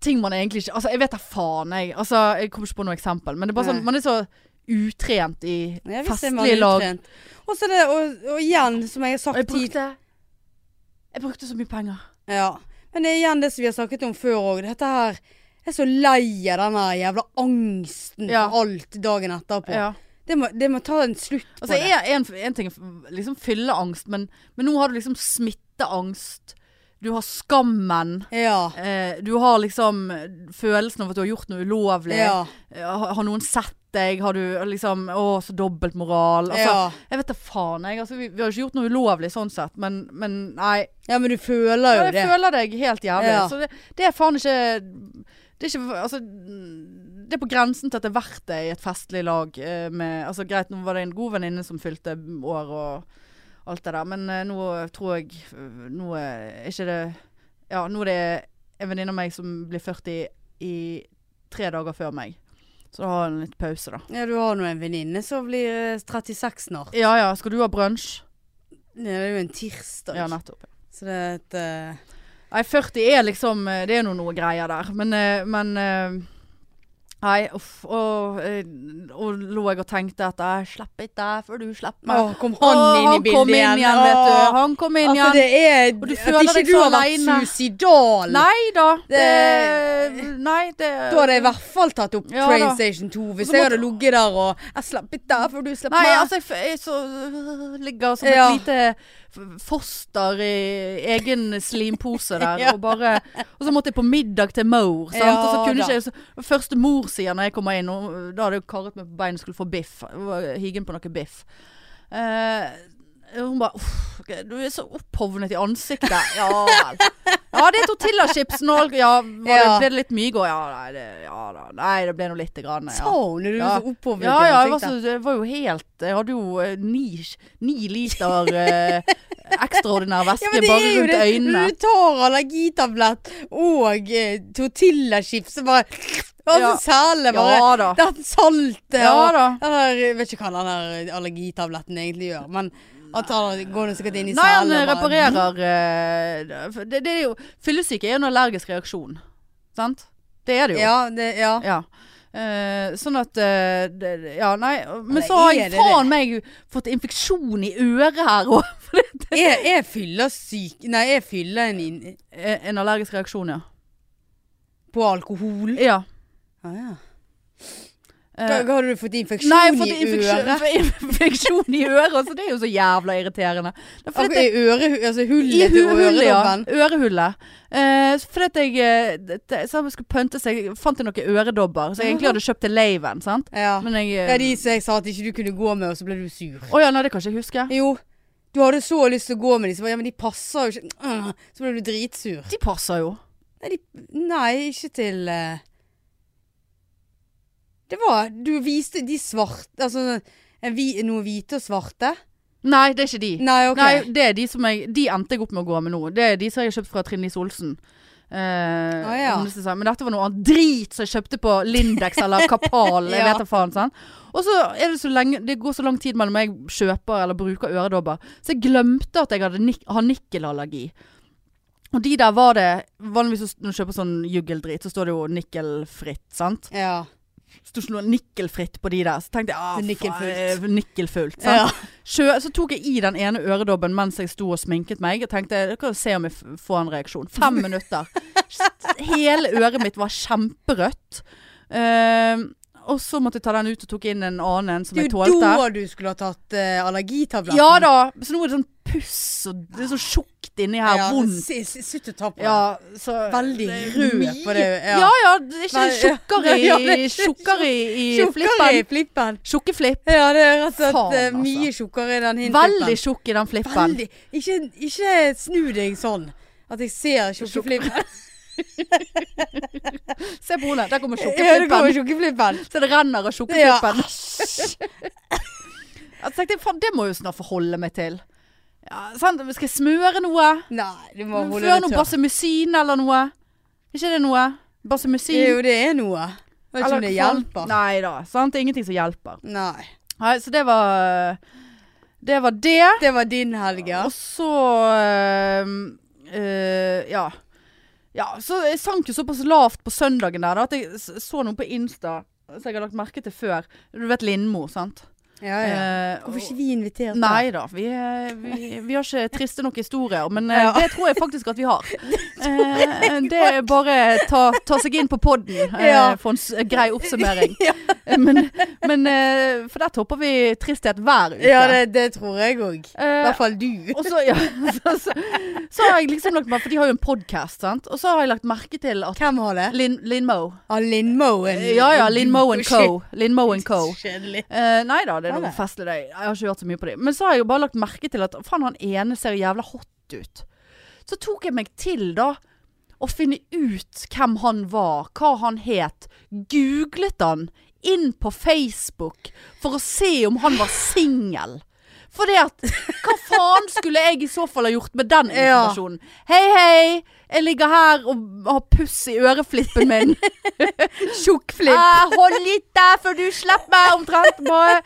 A: ting man egentlig ikke Altså, jeg vet da faen, jeg. Altså, jeg kommer ikke på noe eksempel, men det er bare sånn
B: Nei.
A: Man er så utrent i
B: Ja, visst er man
A: festlige lag.
B: utrent. Og så det, og, og igjen, som jeg
A: Og
B: har
A: jeg
B: sagt tid
A: brukte Jeg brukte så mye penger.
B: ja. Men det er igjen det som vi har snakket om før òg. Dette her Jeg er så lei av denne jævla angsten
A: Ja.
B: for alt dagen etterpå.
A: Ja.
B: Det, må, det må ta en slutt
A: Altså,
B: på det.
A: jeg, en, en ting er f- liksom fylleangst, men, men nå har du liksom smitteangst. Du har skammen.
B: Ja.
A: Eh, du har liksom følelsen av at du har gjort noe ulovlig.
B: Ja.
A: Ja, Har har noen sett deg? Har du liksom Å, så dobbeltmoral. Altså,
B: ja.
A: Jeg vet da faen, jeg. Altså, vi, vi har jo ikke gjort noe ulovlig sånn sett, men, men nei.
B: ja, men du føler jo
A: Ja, jeg
B: det.
A: føler deg helt jævlig.
B: Ja.
A: Så det, det er faen ikke Det er ikke Altså Det er på grensen til at det er verdt det i et festlig lag eh, med Altså greit, nå var det en god venninne som fylte år og alt det der, men eh, nå tror jeg eh, Nå er ikke det Ja, nå er det en venninne av meg som blir 40 i tre dager før meg. Så da har hun litt pause, da.
B: Ja, du har nå en venninne som blir eh, 36 snart.
A: Ja ja, skal du ha brunsj?
B: Ja, Det er jo en tirsdag.
A: Ja, nettopp.
B: så det er et eh,
A: Nei, 40 er liksom eh, Det er noe, noe greier der. Men, eh, men eh, Nei, uff. Og, eh, og lå jeg og tenkte at jeg slipper ikke deg før du slipper
B: Å,
A: meg.
B: kom
A: Å,
B: han inn i
A: han
B: bildet
A: kom inn igjen, vet
B: Å.
A: du. Han kom inn
B: Altså,
A: igjen.
B: det er
A: Og du
B: At
A: føler
B: ikke
A: deg
B: du
A: så
B: har vært
A: alene.
B: suicidal.
A: Nei da. Det
B: Det-
A: Nei, det
B: Da hadde jeg i hvert fall tatt opp
A: Ja,
B: Train
A: da.
B: Station 2 hvis
A: Og så
B: jeg
A: måtte-
B: hadde ligget der og Jeg slapp ikke der før du slapp
A: Nei,
B: meg.
A: altså jeg, f- jeg så, øh, ligger som et
B: Ja.
A: lite f- foster i egen slimpose der.
B: Ja.
A: og, bare, og så måtte jeg på middag til mor. Sant?
B: Ja,
A: og så kunne
B: da.
A: ikke jeg, så, første mor sier når jeg kommer inn, og øh, da hadde jeg karret meg på beina og skulle få biff. Jeg var Higen på noe biff. Eh, hun bare «Uff, ok, Du er så opphovnet i ansiktet. Ja vel. Ja, det er tortillachips nå. Ja, var det,
B: Ja.
A: ble det litt mye i går? Ja, nei, det, ja, da. nei, det ble nå lite grann. Ja.
B: Sa hun det? Du var
A: Ja.
B: så opphovnet
A: Ja, ja,
B: i
A: jeg var,
B: ansiktet.
A: så, jeg var jo helt Jeg hadde jo eh, ni, ni liter eh, ekstraordinær væske
B: men
A: bare rundt øynene.
B: Du tar allergitablett og eh, tortillachips og bare Og så
A: Ja.
B: særlig bare
A: Ja da.
B: Den saltet
A: Ja da.
B: og den der, Jeg vet ikke hva den der allergitabletten egentlig gjør, men han tar, går nå sikkert inn i
A: Nei, han
B: selen
A: eh,
B: og bare-
A: reparerer eh, det, det er jo, Fyllesyke er jo en allergisk reaksjon. Sant? Det er det jo.
B: Ja, det, ja.
A: Ja. Eh, sånn at eh, det, Ja, nei. Men
B: det
A: så har
B: er
A: jeg
B: det,
A: faen meg fått infeksjon i øret her òg.
B: Jeg, jeg fyller syk Nei, jeg fyller en inn
A: Eh, En allergisk reaksjon, ja.
B: på alkohol.
A: ja.
B: Ah, ja.
A: Eh,
B: Hva, hva hadde du fått infeksjon
A: Nei, jeg har fått
B: i
A: infeksjon,
B: øret?
A: infeksjon i øret, så det er jo så jævla irriterende. Det er fordi
B: Akkurat
A: at jeg-
B: I øret, altså
A: I
B: hullet
A: hu
B: til
A: hullet, ja.
B: øredobben?
A: Ørehullet. Eh, så fordi at jeg eh, det- det- sa jeg skulle pønte seg, fant jeg noen øredobber som jeg egentlig hadde kjøpt til Laven, sant.
B: Ja.
A: Men jeg
B: ja,
A: eh,
B: de som jeg sa at ikke du kunne gå med, og så ble du sur.
A: Å ja, nei, det kan ikke jeg huske.
B: Jo, du hadde så lyst til å gå med de, så bare, ja, men de passer jo ikke. Øh, Så ble du dritsur.
A: De passer jo.
B: Nei, de, nei ikke til eh, Det var Du viste de svarte Altså en hvi, noen hvite og svarte.
A: Nei, det er ikke de.
B: Nei, OK.
A: Nei, det er de som jeg De endte jeg opp med å gå med nå. Det er de som jeg har kjøpt fra Trine Lise Olsen. Eh,
B: Å, ja.
A: hun som sa, Men dette var noe annet drit som jeg kjøpte på Lindex eller Kapal. Jeg
B: Ja.
A: vet da faen. sant? Og så er det så lenge Det går så lang tid mellom jeg kjøper eller bruker øredobber. Så jeg glemte at jeg hadde nik har nikkelallergi. Og de der var det Vanligvis så- når du kjøper sånn juggeldrit, så står det jo nikkelfritt, sant.
B: Ja.
A: sto ikke noe nikkelfritt på de der. Så tenkte jeg ah,
B: Det er nikkelfullt.
A: faen, eh, nikkelfullt sant?
B: Ja.
A: Sjø, så tok jeg i den ene øredobben mens jeg sto og sminket meg. Jeg tenkte jeg kan jo se om jeg f- får en reaksjon. Fem minutter. Hele øret mitt var kjemperødt. Eh, og så måtte jeg ta den ut og tok inn en annen en som
B: Det
A: jeg
B: er jo
A: tålte.
B: da du skulle ha tatt eh, allergitabletten.
A: Ja da. Så nå er det sånn puss og det er så tjukt inni her.
B: Ja,
A: vondt.
B: si- si- Slutt å ta på det.
A: Ja, så
B: Veldig
A: det er
B: rød
A: mye-
B: på det.
A: Ja. ja det er ikke
B: Nei, ja.
A: tjukkere
B: Ja, det er
A: i,
B: ikke
A: tjukkere i, i
B: Tjukkere i
A: flippen.
B: flippen.
A: Tjukke flipp.
B: Ja, det er rett og slett
A: Faen,
B: eh,
A: altså.
B: mye tjukkere i den hinflippen.
A: Veldig tjukk i den flippen.
B: Veldig. Ikke, ikke snu deg sånn at jeg ser tjukkeflippen.
A: Se på henne, der kommer
B: Ja, det kommer
A: tjukkeflippen.
B: tjukkeflippen.
A: Så det renner av tjukkeflippen. Jeg tenkte, faen, det må jeg jo snart forholde meg til. Ja, sant? Skal jeg smøre noe?
B: Nei, du må holde
A: Før
B: det
A: noe
B: tørt.
A: basemusin eller noe? Ikke det noe?
B: Det er
A: Basemusin?
B: Jo, det er noe. Vet ikke om det hjelper.
A: Nei da, sant? Det er ingenting som hjelper.
B: Nei.
A: Nei, så det var Det var det.
B: Det var din helg, ja.
A: Og så øhm, øh, Ja. Ja, så jeg sank jo såpass lavt på søndagen der da, at jeg s- så noe på Insta som jeg har lagt merke til før. Du vet Lindmo, sant?
B: ja, ja.
A: Eh,
B: Hvorfor er ikke vi invitert? da?
A: Nei da, vi, eh, vi, vi har ikke triste nok historier, men eh,
B: Ja.
A: det tror jeg faktisk at vi har. Eh, det er bare ta, ta seg inn på podden eh,
B: Ja.
A: for en s- grei oppsummering.
B: Ja.
A: Eh, Men, men eh, For der topper vi tristhet hver uke.
B: Ja, det, det tror jeg òg. I
A: Eh,
B: hvert fall du.
A: og så, ja, så, så, så har jeg liksom lagt merke For de har jo en podkast, sant. Og så har jeg lagt merke til at
B: Hvem har det?
A: Lin, Lin Mo.
B: Ah, Linn Moen.
A: Ja ja, Lin Mo and
B: Shit,
A: Co. Lin Mo and Co.
B: Kjedelig.
A: Eh, nei da, det er
B: Nei,
A: noe
B: nei.
A: festlig. det. Jeg har ikke hørt så mye på det. Men så har jeg jo bare lagt merke til at faen, han ene ser jævla hot ut. Så tok jeg meg til, da, å finne ut hvem han var, hva han het. Googlet han inn på Facebook for å se om han var singel. For det at Hva faen skulle jeg i så fall ha gjort med den
B: Ja.
A: informasjonen? Hei, hei, jeg ligger her og har puss i øreflippen min.
B: Tjukkflipp.
A: Eh, hold litt der før du slipper meg omtrent. Bare.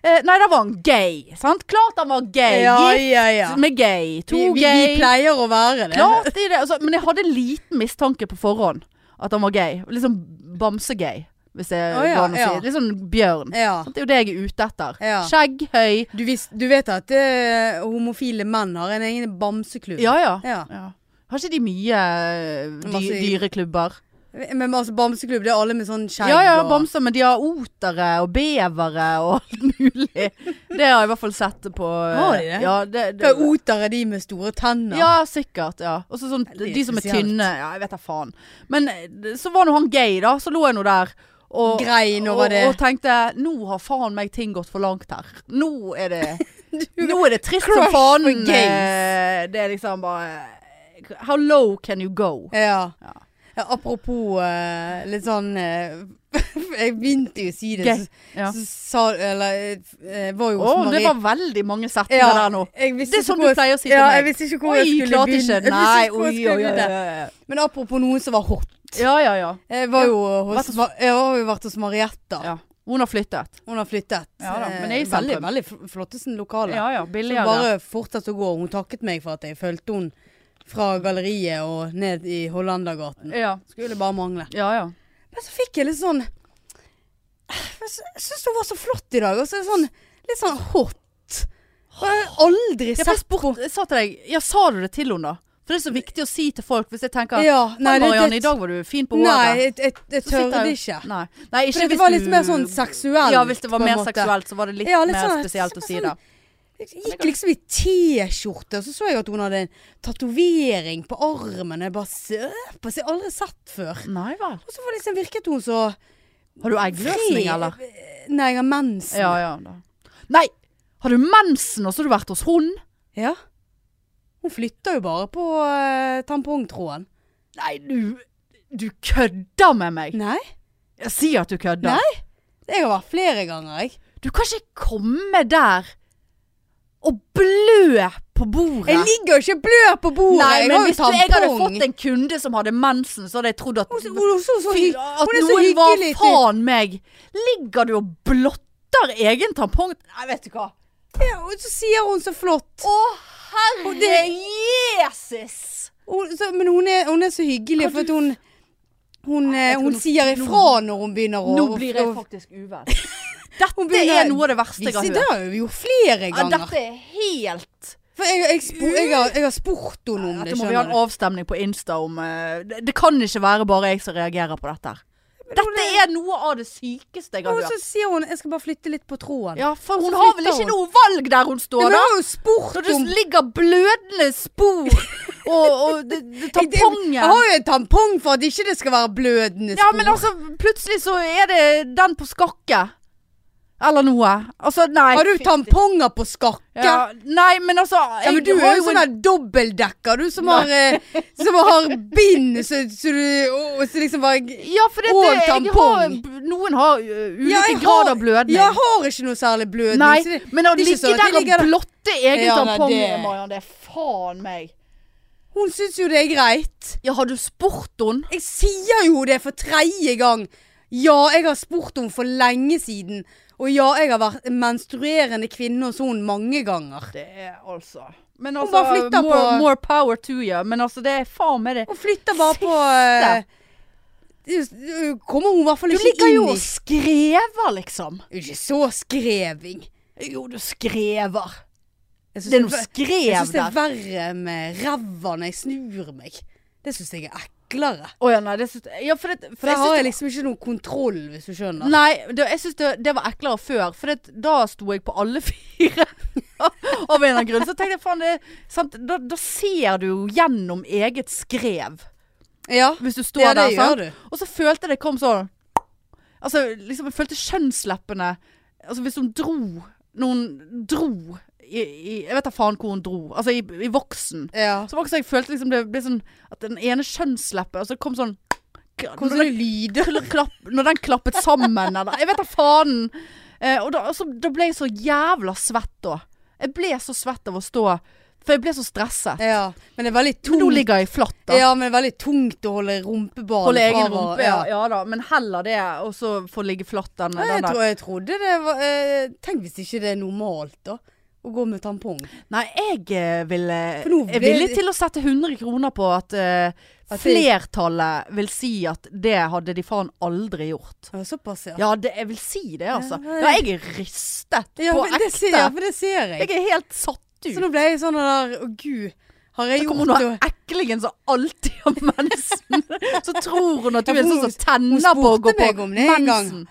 A: Eh, nei, da var han gay. Sant? Klart han var gay.
B: Ja,
A: Gift
B: ja, ja.
A: med gay. To
B: Vi, vi,
A: gay.
B: vi pleier å være det.
A: Klart i det. Altså, men jeg hadde en liten mistanke på forhånd at han var gay. Liksom bamsegay, hvis det
B: Å, ja,
A: går an å
B: ja.
A: si. Litt sånn bjørn.
B: Ja.
A: Sant? Det er jo det jeg er ute etter.
B: Ja.
A: Skjegg, høy.
B: Du, vis, du vet at eh, homofile menn har en egen bamseklubb?
A: Ja, ja.
B: Ja.
A: ja. Har ikke de mye eh, dy
B: Masse-
A: dyreklubber?
B: Men altså, bamseklubb, det er alle med sånn skjegg
A: Ja, ja,
B: og-
A: bamser, men de har otere og bevere og alt mulig. Det har jeg i hvert fall sett på eh,
B: Har de det?
A: Ja, det, det,
B: Hva er oter er de med store tenner?
A: ja sikkert. ja. Og så sånn,
B: Veldig
A: de som er
B: spesielt.
A: tynne. Ja, jeg vet da faen. Men eh, så var nå han gay, da. Så lå jeg nå der. Og,
B: Grein over
A: og,
B: det.
A: og tenkte nå har faen meg ting gått for langt her. Nå er det, nå er det trist som
B: Crush
A: faen.
B: for gays.
A: eh, Det er liksom bare eh, How low can you go?
B: Ja.
A: Ja.
B: Ja, apropos eh, litt sånn eh, Jeg begynte jo å si det,
A: Gay,
B: så,
A: ja.
B: så sa Eller eh, var jo
A: Å,
B: hos
A: det
B: Marie.
A: var veldig mange setninger
B: Ja,
A: der nå.
B: jeg visste
A: Det er
B: ikke
A: sånn du
B: hvor jeg-
A: pleier å si til
B: ja,
A: meg.
B: jeg visste ikke hvor jeg
A: Oi,
B: skulle
A: klart
B: begynne.
A: ikke.
B: Jeg visste
A: Nei,
B: ikke hvor
A: oi, oi,
B: jeg skulle
A: oi.
B: begynne.
A: oi, oi.
B: Men apropos noen som var hot.
A: Ja, ja, ja.
B: Jeg var jo hos,
A: Vært
B: Ma- jeg har jo vært hos Marietta.
A: ja. Hun har flyttet.
B: Hun har flyttet.
A: Ja da, men
B: Eh,
A: det er i
B: veldig,
A: sentrum.
B: veldig fl- flotteste lokale.
A: Ja, ja,
B: Så
A: billigere.
B: bare fortsatt å gå. Hun takket meg for at jeg fulgte hun fra galleriet og ned i Hollandergaten.
A: Ja,
B: Skulle bare mangle.
A: ja. ja.
B: Men så fikk jeg litt sånn Jeg syns hun var så flott i dag. Og så er det sånn, litt sånn hot. Og Jeg har aldri
A: Jeg,
B: sett
A: spurt, jeg sa til deg, ja, sa du det til henne da? For det er så viktig å si til folk hvis jeg tenker
B: Ja,
A: Nei,
B: det-
A: Marianne,
B: det-
A: i dag var du fin på håret.
B: Nei, jeg, jeg, jeg
A: Så sitter
B: tørde
A: jeg-
B: ikke.
A: Nei, nei ikke
B: For det
A: hvis
B: var
A: du-
B: litt mer sånn seksuelt.
A: Ja, hvis det var
B: på en
A: mer
B: måte.
A: seksuelt, så var det litt,
B: Ja, litt
A: mer
B: sånn-
A: spesielt å si det.
B: Jeg gikk liksom i T-skjorte, og så så jeg at hun hadde en tatovering på armen. Jeg bare søpes, jeg har aldri sett før.
A: Nei vel.
B: Og så var liksom virket hun så
A: Har du eggløsning, eller?
B: Nei, jeg har mensen.
A: Ja, ja. Da. Nei! Har du mensen, og så har du vært hos hun?
B: Ja. Hun flytter jo bare på eh, tampongtråden.
A: Nei, du Du kødder med meg!
B: Nei.
A: Jeg sier at du kødder.
B: Nei. Jeg har vært flere ganger, jeg.
A: Du kan ikke komme der og blø på bordet.
B: Jeg ligger jo ikke blød på bordet.
A: Nei,
B: jeg
A: men
B: har jo
A: hvis du, jeg hadde
B: tampong.
A: fått en kunde som hadde mensen, så hadde jeg trodd at,
B: Hun, hun, hun, så så
A: fy,
B: hygg-
A: at
B: hun er så
A: noen var
B: hyggelig. til-
A: faen meg. Ligger du og blotter egen tampong? Nei, vet du hva.
B: Ja, og så sier hun så flott.
A: Å, herre Jesus!
B: Hun, så, men hun er, hun er så hyggelig, for at hun Hun, eh,
A: Jeg tror
B: hun
A: nå-
B: sier
A: nå-
B: ifra når hun begynner å
A: Nå blir jeg
B: å-
A: faktisk uvel.
B: Hun
A: Dette
B: begynner-
A: er noe av det verste jeg
B: Disse-
A: har
B: Det
A: hørt.
B: har vi gjort flere
A: Ja,
B: ganger.
A: dette er helt
B: For jeg, jeg, spo- jeg, har, jeg har spurt henne om det.
A: Dette må vi ha en
B: skjønner
A: avstemning på Insta om eh, det, det kan ikke være bare jeg som reagerer på dette. her. Dette er noe av det sykeste jeg
B: du.
A: har
B: Og så
A: hørt.
B: sier hun 'jeg skal bare flytte litt på tråden'.
A: Ja, for hun
B: så
A: har vel
B: flytter
A: ikke
B: hun.
A: noe valg der hun står,
B: Men
A: da?
B: hun har jo spurt
A: Når det
B: om
A: ligger blødende spor og, og det, det,
B: Jeg har
A: tampongen
B: jo en tampong for at ikke det skal være blødende
A: Ja,
B: spor.
A: men altså, plutselig så er det den på skakke. Eller noe. Altså, nei.
B: har du
A: fy-
B: tamponger på skakke?
A: Ja, nei, men altså
B: Ja, men
A: jeg
B: du
A: har
B: er jo sånn der dobbeltdekker, du som har, eh, som har bind så, så du og, og så liksom bare
A: Ja, for det,
B: Og
A: det, jeg har,
B: tampong.
A: noen har ø,
B: Ja,
A: ulike
B: jeg
A: grader
B: har-
A: av blødning.
B: Ja, jeg har ikke noe særlig blødning.
A: Nei,
B: så det,
A: men å
B: det er ikke
A: ligge
B: sånn
A: der
B: at de
A: og
B: ligger der-
A: blotte egen
B: Ja, nei,
A: tampong,
B: det-
A: Mariann, det er faen meg.
B: hun syns jo det er greit.
A: Ja, har du spurt henne?
B: Jeg sier jo det for tredje gang. Ja, jeg har spurt henne for lenge siden. Og ja, jeg har vært menstruerende kvinne hos henne mange ganger.
A: Det er altså Men
B: Hun
A: altså,
B: bare flytter
A: more,
B: på-
A: more power to you. Men altså, det er faen meg det.
B: Og flytter bare på eh, det- Kommer hun i hvert fall
A: Du
B: ikke
A: ligger jo
B: inn i
A: og skrever, liksom.
B: Det er jo Ikke så skreving.
A: Jo, du skrever.
B: Jeg synes
A: Det er noe
B: ver- Jeg
A: skrev
B: syns det
A: der.
B: er verre med ræva når jeg snur meg. Det syns jeg er eklere.
A: Å ja, nei, det syns Ja, for det
B: For der
A: syns
B: har jeg
A: det-
B: liksom ikke noe kontroll, hvis du skjønner.
A: Nei, det, jeg syns det, det var eklere før. For det, da sto jeg på alle fire. Av en eller annen grunn. Så tenkte jeg faen, det er sant. Da, da ser du jo gjennom eget skrev.
B: Ja,
A: Hvis du står
B: ja det
A: der,
B: gjør
A: sant.
B: du.
A: Og så følte jeg det kom sånn Altså, liksom, jeg følte kjønnsleppene Altså, hvis hun dro Noen dro i, i, Jeg vet da faen hvor hun dro. Altså, i, i voksen.
B: Ja.
A: Så var det ikke så jeg følte liksom det ble sånn At den ene kjønnsleppen Altså, det kom sånn
B: Kommer
A: når,
B: sånne lyder.
A: den klapp, når den klappet sammen, eller Jeg vet da faen! Eh, og da, altså, da ble jeg så jævla svett da. Jeg ble så svett av å stå For jeg ble så stresset.
B: Ja. Men det er veldig
A: Men nå
B: tungt.
A: ligger jeg flatt, da.
B: Ja, men det er veldig tungt å holde rumpeballen
A: Holde egen
B: fra hver-
A: rumpe, ja. ja da. Men heller det, og så få ligge flatt den,
B: Nei, jeg,
A: den der.
B: tror, jeg trodde det var eh, Tenk hvis ikke det er normalt, da. Å gå med tampong.
A: Nei, jeg eh, ville
B: For nå
A: Er
B: ble-
A: villig til å sette 100 kroner på at eh,
B: At det-
A: flertallet vil si at det hadde de faen aldri gjort.
B: Ja, såpass, ja.
A: Ja, det, jeg vil si det, altså.
B: Ja,
A: Ja,
B: nei.
A: jeg er rystet
B: Ja,
A: på
B: men det ser, ja,
A: ekte.
B: for det ser jeg.
A: Jeg er helt satt ut.
B: Så nå ble jeg sånn der Å, gud. Har jeg
A: Så kommer
B: gjort
A: hun
B: noe?
A: der eklingen som alltid har mensen. Så tror hun at du
B: Ja,
A: er
B: for
A: sånn
B: hun-
A: som tenner på å gå
B: spurte
A: på
B: meg om det en gang.
A: mensen.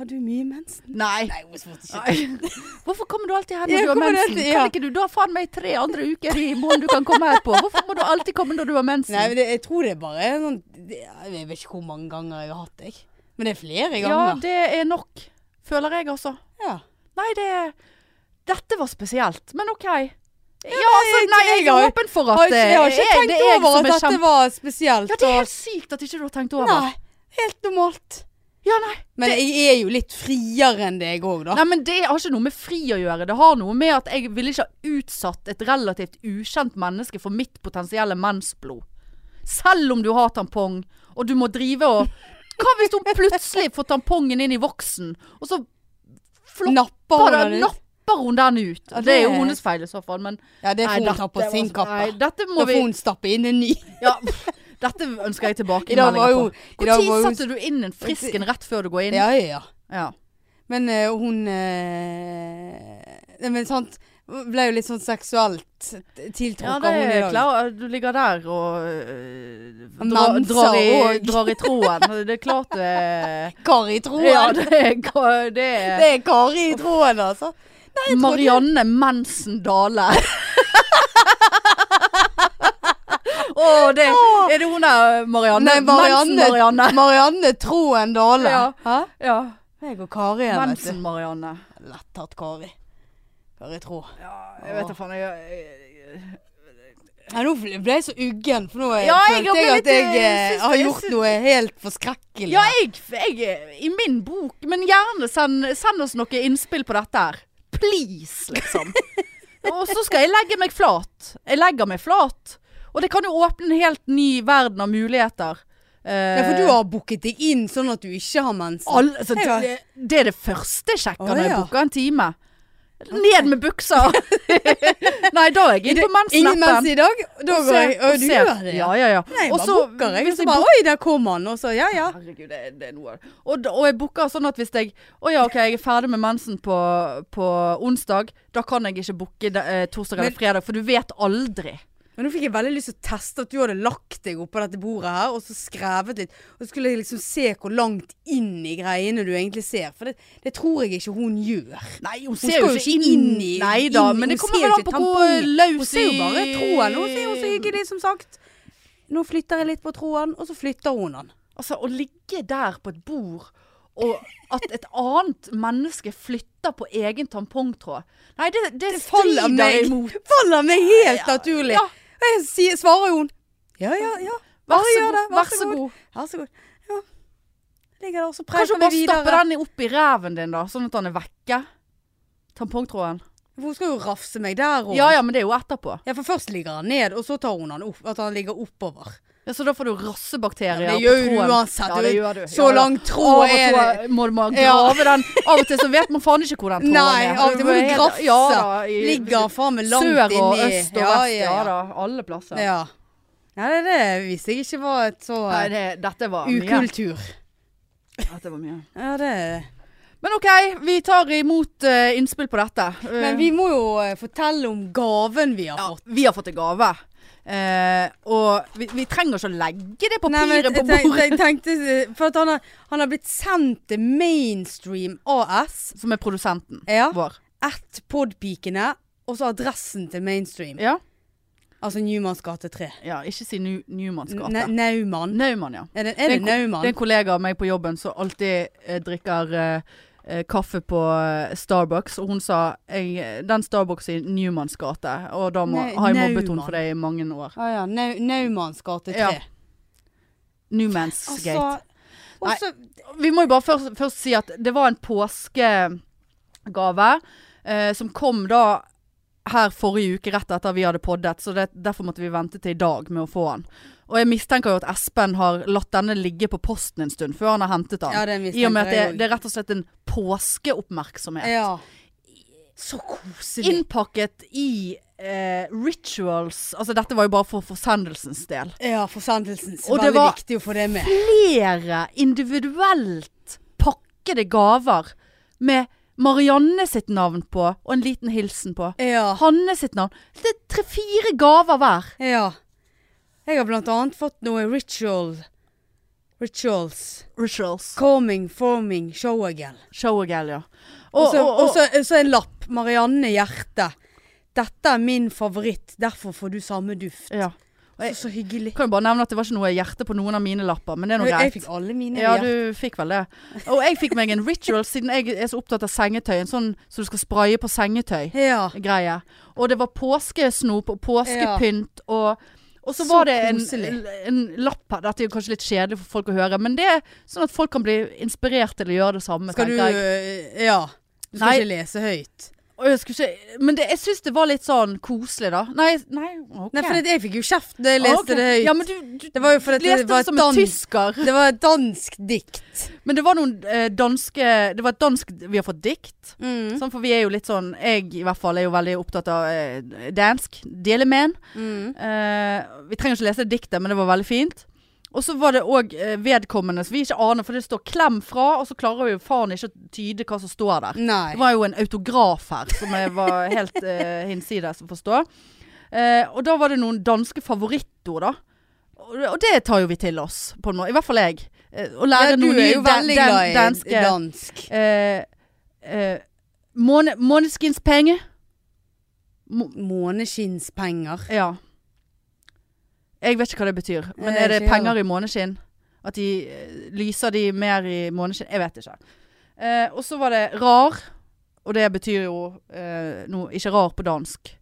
B: Har du mye mensen?
A: Nei.
B: Nei, hun spurte ikke.
A: Nei. Hvorfor kommer du alltid her når
B: Ja,
A: du har
B: kommer du
A: mensen?
B: alltid- ja.
A: Kan ikke du da faen meg tre andre uker i måneden du kan komme her på? Hvorfor må du alltid komme når du har mensen?
B: Nei, men det, jeg tror det er bare sånn det, Jeg vet ikke hvor mange ganger jeg har hatt det. jeg. Men det er flere
A: ja,
B: ganger.
A: det er nok, føler jeg altså.
B: Ja.
A: Nei, det Dette var spesielt, men OK. Ja, altså, nei, jeg
B: jeg
A: er
B: har-
A: åpen for
B: Har
A: at
B: ikke-
A: eh,
B: jeg har ikke
A: jeg-
B: tenkt
A: det er jeg
B: over
A: som
B: at
A: er
B: dette
A: kjempe-
B: var spesielt.
A: Ja, det er
B: og-
A: helt sykt at ikke du har tenkt over.
B: Nei, helt normalt.
A: Ja, nei.
B: Men jeg er jo litt friere enn deg òg, da.
A: Nei, men Det har ikke noe med fri å gjøre. Det har noe med at jeg ville ikke ha utsatt et relativt ukjent menneske for mitt potensielle mensblod. Selv om du har tampong, og du må drive og Hva hvis hun plutselig får tampongen inn i voksen, og så flopper
B: Napper hun
A: den,
B: den ut?
A: napper hun den ut?
B: Ja, det
A: det er jo
B: er-
A: hennes feil i så fall, men
B: Ja, det
A: Nei,
B: får hun ta på
A: dette
B: sin
A: var- altså- Nei,
B: kappe.
A: dette
B: Da
A: må
B: får
A: vi
B: hun stappe inn en ny.
A: ja, Dette ønsker jeg
B: I dag var
A: tilbakemeldinger på.
B: jo i dag
A: Når
B: var hun,
A: setter du inn en frisk en rett før du går inn?
B: Ja, ja, ja.
A: Ja.
B: Men eh, hun eh, Nei, men sant Ble jo litt sånn seksuelt tiltrukket
A: Ja,
B: av
A: det
B: henne i
A: er
B: dag.
A: klart. Du ligger der og øh, dra,
B: Menser
A: drar, i,
B: og-
A: drar i tråden. Det er klart det
B: Kari i tråden.
A: Ja, det er, ga- det er
B: Det er Kari i tråden, altså. trodde-
A: Marianne Mensen Dale. Å, det Er det hun der Marianne?
B: Nei, Marianne.
A: Mensen-Marianne.
B: Marianne Troen Dale.
A: Ja.
B: Hæ?
A: Ja.
B: Meg og Kari her, vet du.
A: Mensen-Marianne.
B: Lett tatt Kari. Kari Tro.
A: Ja, jeg vet da faen. Jeg, jeg,
B: Nei, nå ble jeg så uggen, for nå eh,
A: Ja, jeg
B: følte
A: ble
B: jeg
A: litt,
B: at jeg
A: eh,
B: eh,
A: syns
B: har
A: det-
B: gjort
A: syns-
B: noe helt forskrekkelig.
A: ja, jeg, jeg I min bok. Men gjerne send, send oss noe innspill på dette her. Please, liksom. Og så skal jeg legge meg flat. Jeg legger meg flat. Og det kan jo åpne en helt ny verden av muligheter.
B: Nei,
A: Eh,
B: for du har booket deg inn sånn at du ikke har mensen.
A: alle- altså,
B: Jeg har-
A: det, det er det første jeg sjekker
B: Å,
A: når jeg
B: ja.
A: booker en time. Ned med buksa! Nei, da er jeg inne på
B: Ingen mens
A: menssnappen.
B: i dag? Da går jeg Å, du gjør det?
A: Ja, ja, ja.
B: Nei, jeg
A: Og
B: bare
A: så-
B: booker, jeg.
A: hvis
B: Så bare Oi, der kom han. Og så ja, ja.
A: Herregud, det, det er noe. Og, da- og jeg booker sånn at hvis jeg Å ja, OK, jeg er ferdig med mensen på, på onsdag. Da kan jeg ikke booke de- eh, torsdag eller
B: Men-
A: fredag, for du vet aldri.
B: Men nå fikk jeg veldig lyst til å teste at du hadde lagt deg oppå dette bordet her, og så skrevet litt. Og så skulle jeg liksom se hvor langt inn i greiene du egentlig ser. For det, det tror jeg ikke hun gjør.
A: Nei, hun
B: ser jo ikke inn i-
A: Nei da,
B: inn i-
A: men det
B: hun
A: kommer
B: ser
A: vel
B: jo
A: an på
B: ikke
A: hvor
B: tampongen.
A: løs Mm.
B: Hun ser jo bare troen. Hun ser jo så hyggelig, som sagt. Nå flytter jeg litt på troen, og så flytter hun den.
A: Altså, å ligge der på et bord, og at et annet menneske flytter på egen tampongtråd Nei, det, det, strider
B: faller meg.
A: imot.
B: Faller meg helt naturlig.
A: Ja.
B: Og jeg sier, svarer jo hun. Ja, ja, ja.
A: Vær
B: Bare
A: så
B: gjør
A: god.
B: det, vær
A: Vær
B: så
A: så
B: god.
A: god.
B: Vær så god. Ja. Ligger der, og så
A: Kanskje
B: preiker
A: hun
B: vi
A: bare stapper
B: videre.
A: den opp i ræven din, da, sånn at den er vekke? Tampongtråden.
B: For Hun skal jo rafse meg der òg.
A: Ja ja, men det er jo etterpå.
B: Ja, for først ligger han ned, og så tar hun han opp. At han ligger oppover.
A: Ja, Så da får du rassebakterier
B: Ja, det
A: på
B: gjør du
A: tråden.
B: uansett,
A: Ja,
B: du
A: det
B: vet.
A: gjør du.
B: Så
A: Ja, ja.
B: lang tråd
A: Av og
B: er
A: til Må du bare
B: Ja.
A: grave den. Av og til så vet man faen ikke hvor den tråden
B: Nei,
A: er.
B: av og til
A: Det
B: må du
A: er helt-
B: grafse.
A: Ja, da, i-
B: ligger faen meg langt
A: Sør og øst
B: inni.
A: og vest, ja, da. Alle plasser.
B: ja. Nei, det, det visste jeg ikke var et så eh,
A: Nei, det, dette var mye.
B: ukultur.
A: Dette var mye.
B: Ja, det
A: Men OK, vi tar imot eh, innspill på dette. Eh,
B: Men vi må jo eh, fortelle om gaven vi har
A: ja,
B: fått.
A: vi har fått en gave. Eh, og vi, vi trenger ikke å legge det papiret
B: men
A: på
B: jeg
A: bordet.
B: tenk- jeg tenkte eh, For at han har, han har blitt sendt til Mainstream AS.
A: Som er produsenten
B: Ja.
A: vår.
B: At Podpikene. Og så adressen til Mainstream.
A: Ja,
B: Altså Newmans gate 3.
A: ja ikke si Nu- Newmans
B: Ne-
A: gate.
B: Naumann.
A: Naumann, ja.
B: Er det,
A: Det er
B: er det
A: en ko- Det er
B: Naumann?
A: en kollega av meg på jobben som alltid eh, drikker eh, eh, kaffe på eh, Starbucks, og hun sa jeg, eh, den Starbucks i Newmans gate, og da må,
B: Nei,
A: har jeg mobbet henne
B: Naumann.
A: for det i mange år.
B: Ah, ja. Nau, Naumanns gate 3.
A: Ja, Newmans
B: Altså,
A: gate. Nei.
B: også,
A: Vi må jo bare først, først si at det var en påskegave eh, som kom da her forrige uke rett etter vi hadde poddet, så det, derfor måtte vi vente til i dag med å få den. Og jeg mistenker jo at Espen har latt denne ligge på posten en stund før han har hentet den.
B: ja, det mistenker
A: I og med at det,
B: jeg
A: det er
B: også.
A: rett og slett en påskeoppmerksomhet.
B: Ja. Så koselig.
A: Innpakket i eh, rituals Altså dette var jo bare for forsendelsens del.
B: ja, forsendelsen. Så
A: Og det
B: veldig
A: var-
B: viktig å få det med.
A: Flere individuelt pakkede gaver med Marianne sitt navn på, og en liten hilsen på.
B: Ja.
A: Hanne sitt navn. Det er tre-fire gaver hver.
B: ja. Jeg har blant annet fått noe ritual. Rituals.
A: Rituals.
B: Coming, forming, show again.
A: Showagel, ja. Og,
B: Og så-
A: og,
B: og
A: og,
B: så så en lapp. Marianne Hjerte. Dette er min favoritt, derfor får du samme duft.
A: ja.
B: Så, så hyggelig.
A: Kan jo bare nevne at det var ikke noe hjerte på noen av mine lapper, men det er nå greit.
B: Jeg fikk alle mine.
A: Ja,
B: hjerte.
A: du fikk vel det. Og jeg fikk meg en ritual, siden jeg er så opptatt av sengetøy. En sånn som du skal spraye på sengetøy.
B: ja.
A: Greie. Og det var påskesnop og påskepynt og og så
B: Så
A: var det en,
B: koselig.
A: en lapp her. Dette er jo kanskje litt kjedelig for folk å høre, men det er sånn at folk kan bli inspirert til å gjøre det samme.
B: Skal du
A: tenker jeg.
B: øh, Ja. Du skal
A: Nei.
B: ikke lese høyt.
A: Og jeg skulle ikke, men det, jeg syns det var litt sånn koselig, da. Nei, nei ok.
B: Nei, for det, jeg fikk jo kjeft da jeg leste
A: Ah, Ok.
B: det høyt.
A: Ja, men du, du
B: det var jo fordi
A: leste
B: det var
A: det
B: et
A: som en
B: dansk
A: tysker.
B: Det var et dansk dikt.
A: Men det var noen eh, danske Det var et dansk Vi har fått dikt.
B: Mm.
A: Sånn, for vi er jo litt sånn Jeg i hvert fall er jo veldig opptatt av eh, dansk. Delemen.
B: Mm.
A: Eh, vi trenger ikke lese diktet, men det var veldig fint. Og så var det òg eh, vedkommende som vi ikke aner, for det står 'klem fra', og så klarer vi jo faen ikke å tyde hva som står der.
B: Nei.
A: Det var jo en autograf her som jeg var helt eh, hinsides å forstå. Eh, og da var det noen danske favorittord, da. Og, og det tar jo vi til oss, på en måte. I hvert fall jeg. Eh, å lære
B: ja, du
A: noen
B: er
A: nye
B: jo
A: dan-
B: veldig
A: dan-
B: glad i
A: danske
B: dansk.
A: eh, eh, måne, Måneskins penge. Må,
B: Måneskinnspenger.
A: ja. Jeg vet ikke hva det betyr, men
B: Jeg
A: er det
B: ikke heller.
A: penger i måneskinn? At de eh, lyser de mer i måneskinn? Jeg vet ikke. Eh, og så var det rar, og det betyr jo eh, noe Ikke rar på dansk.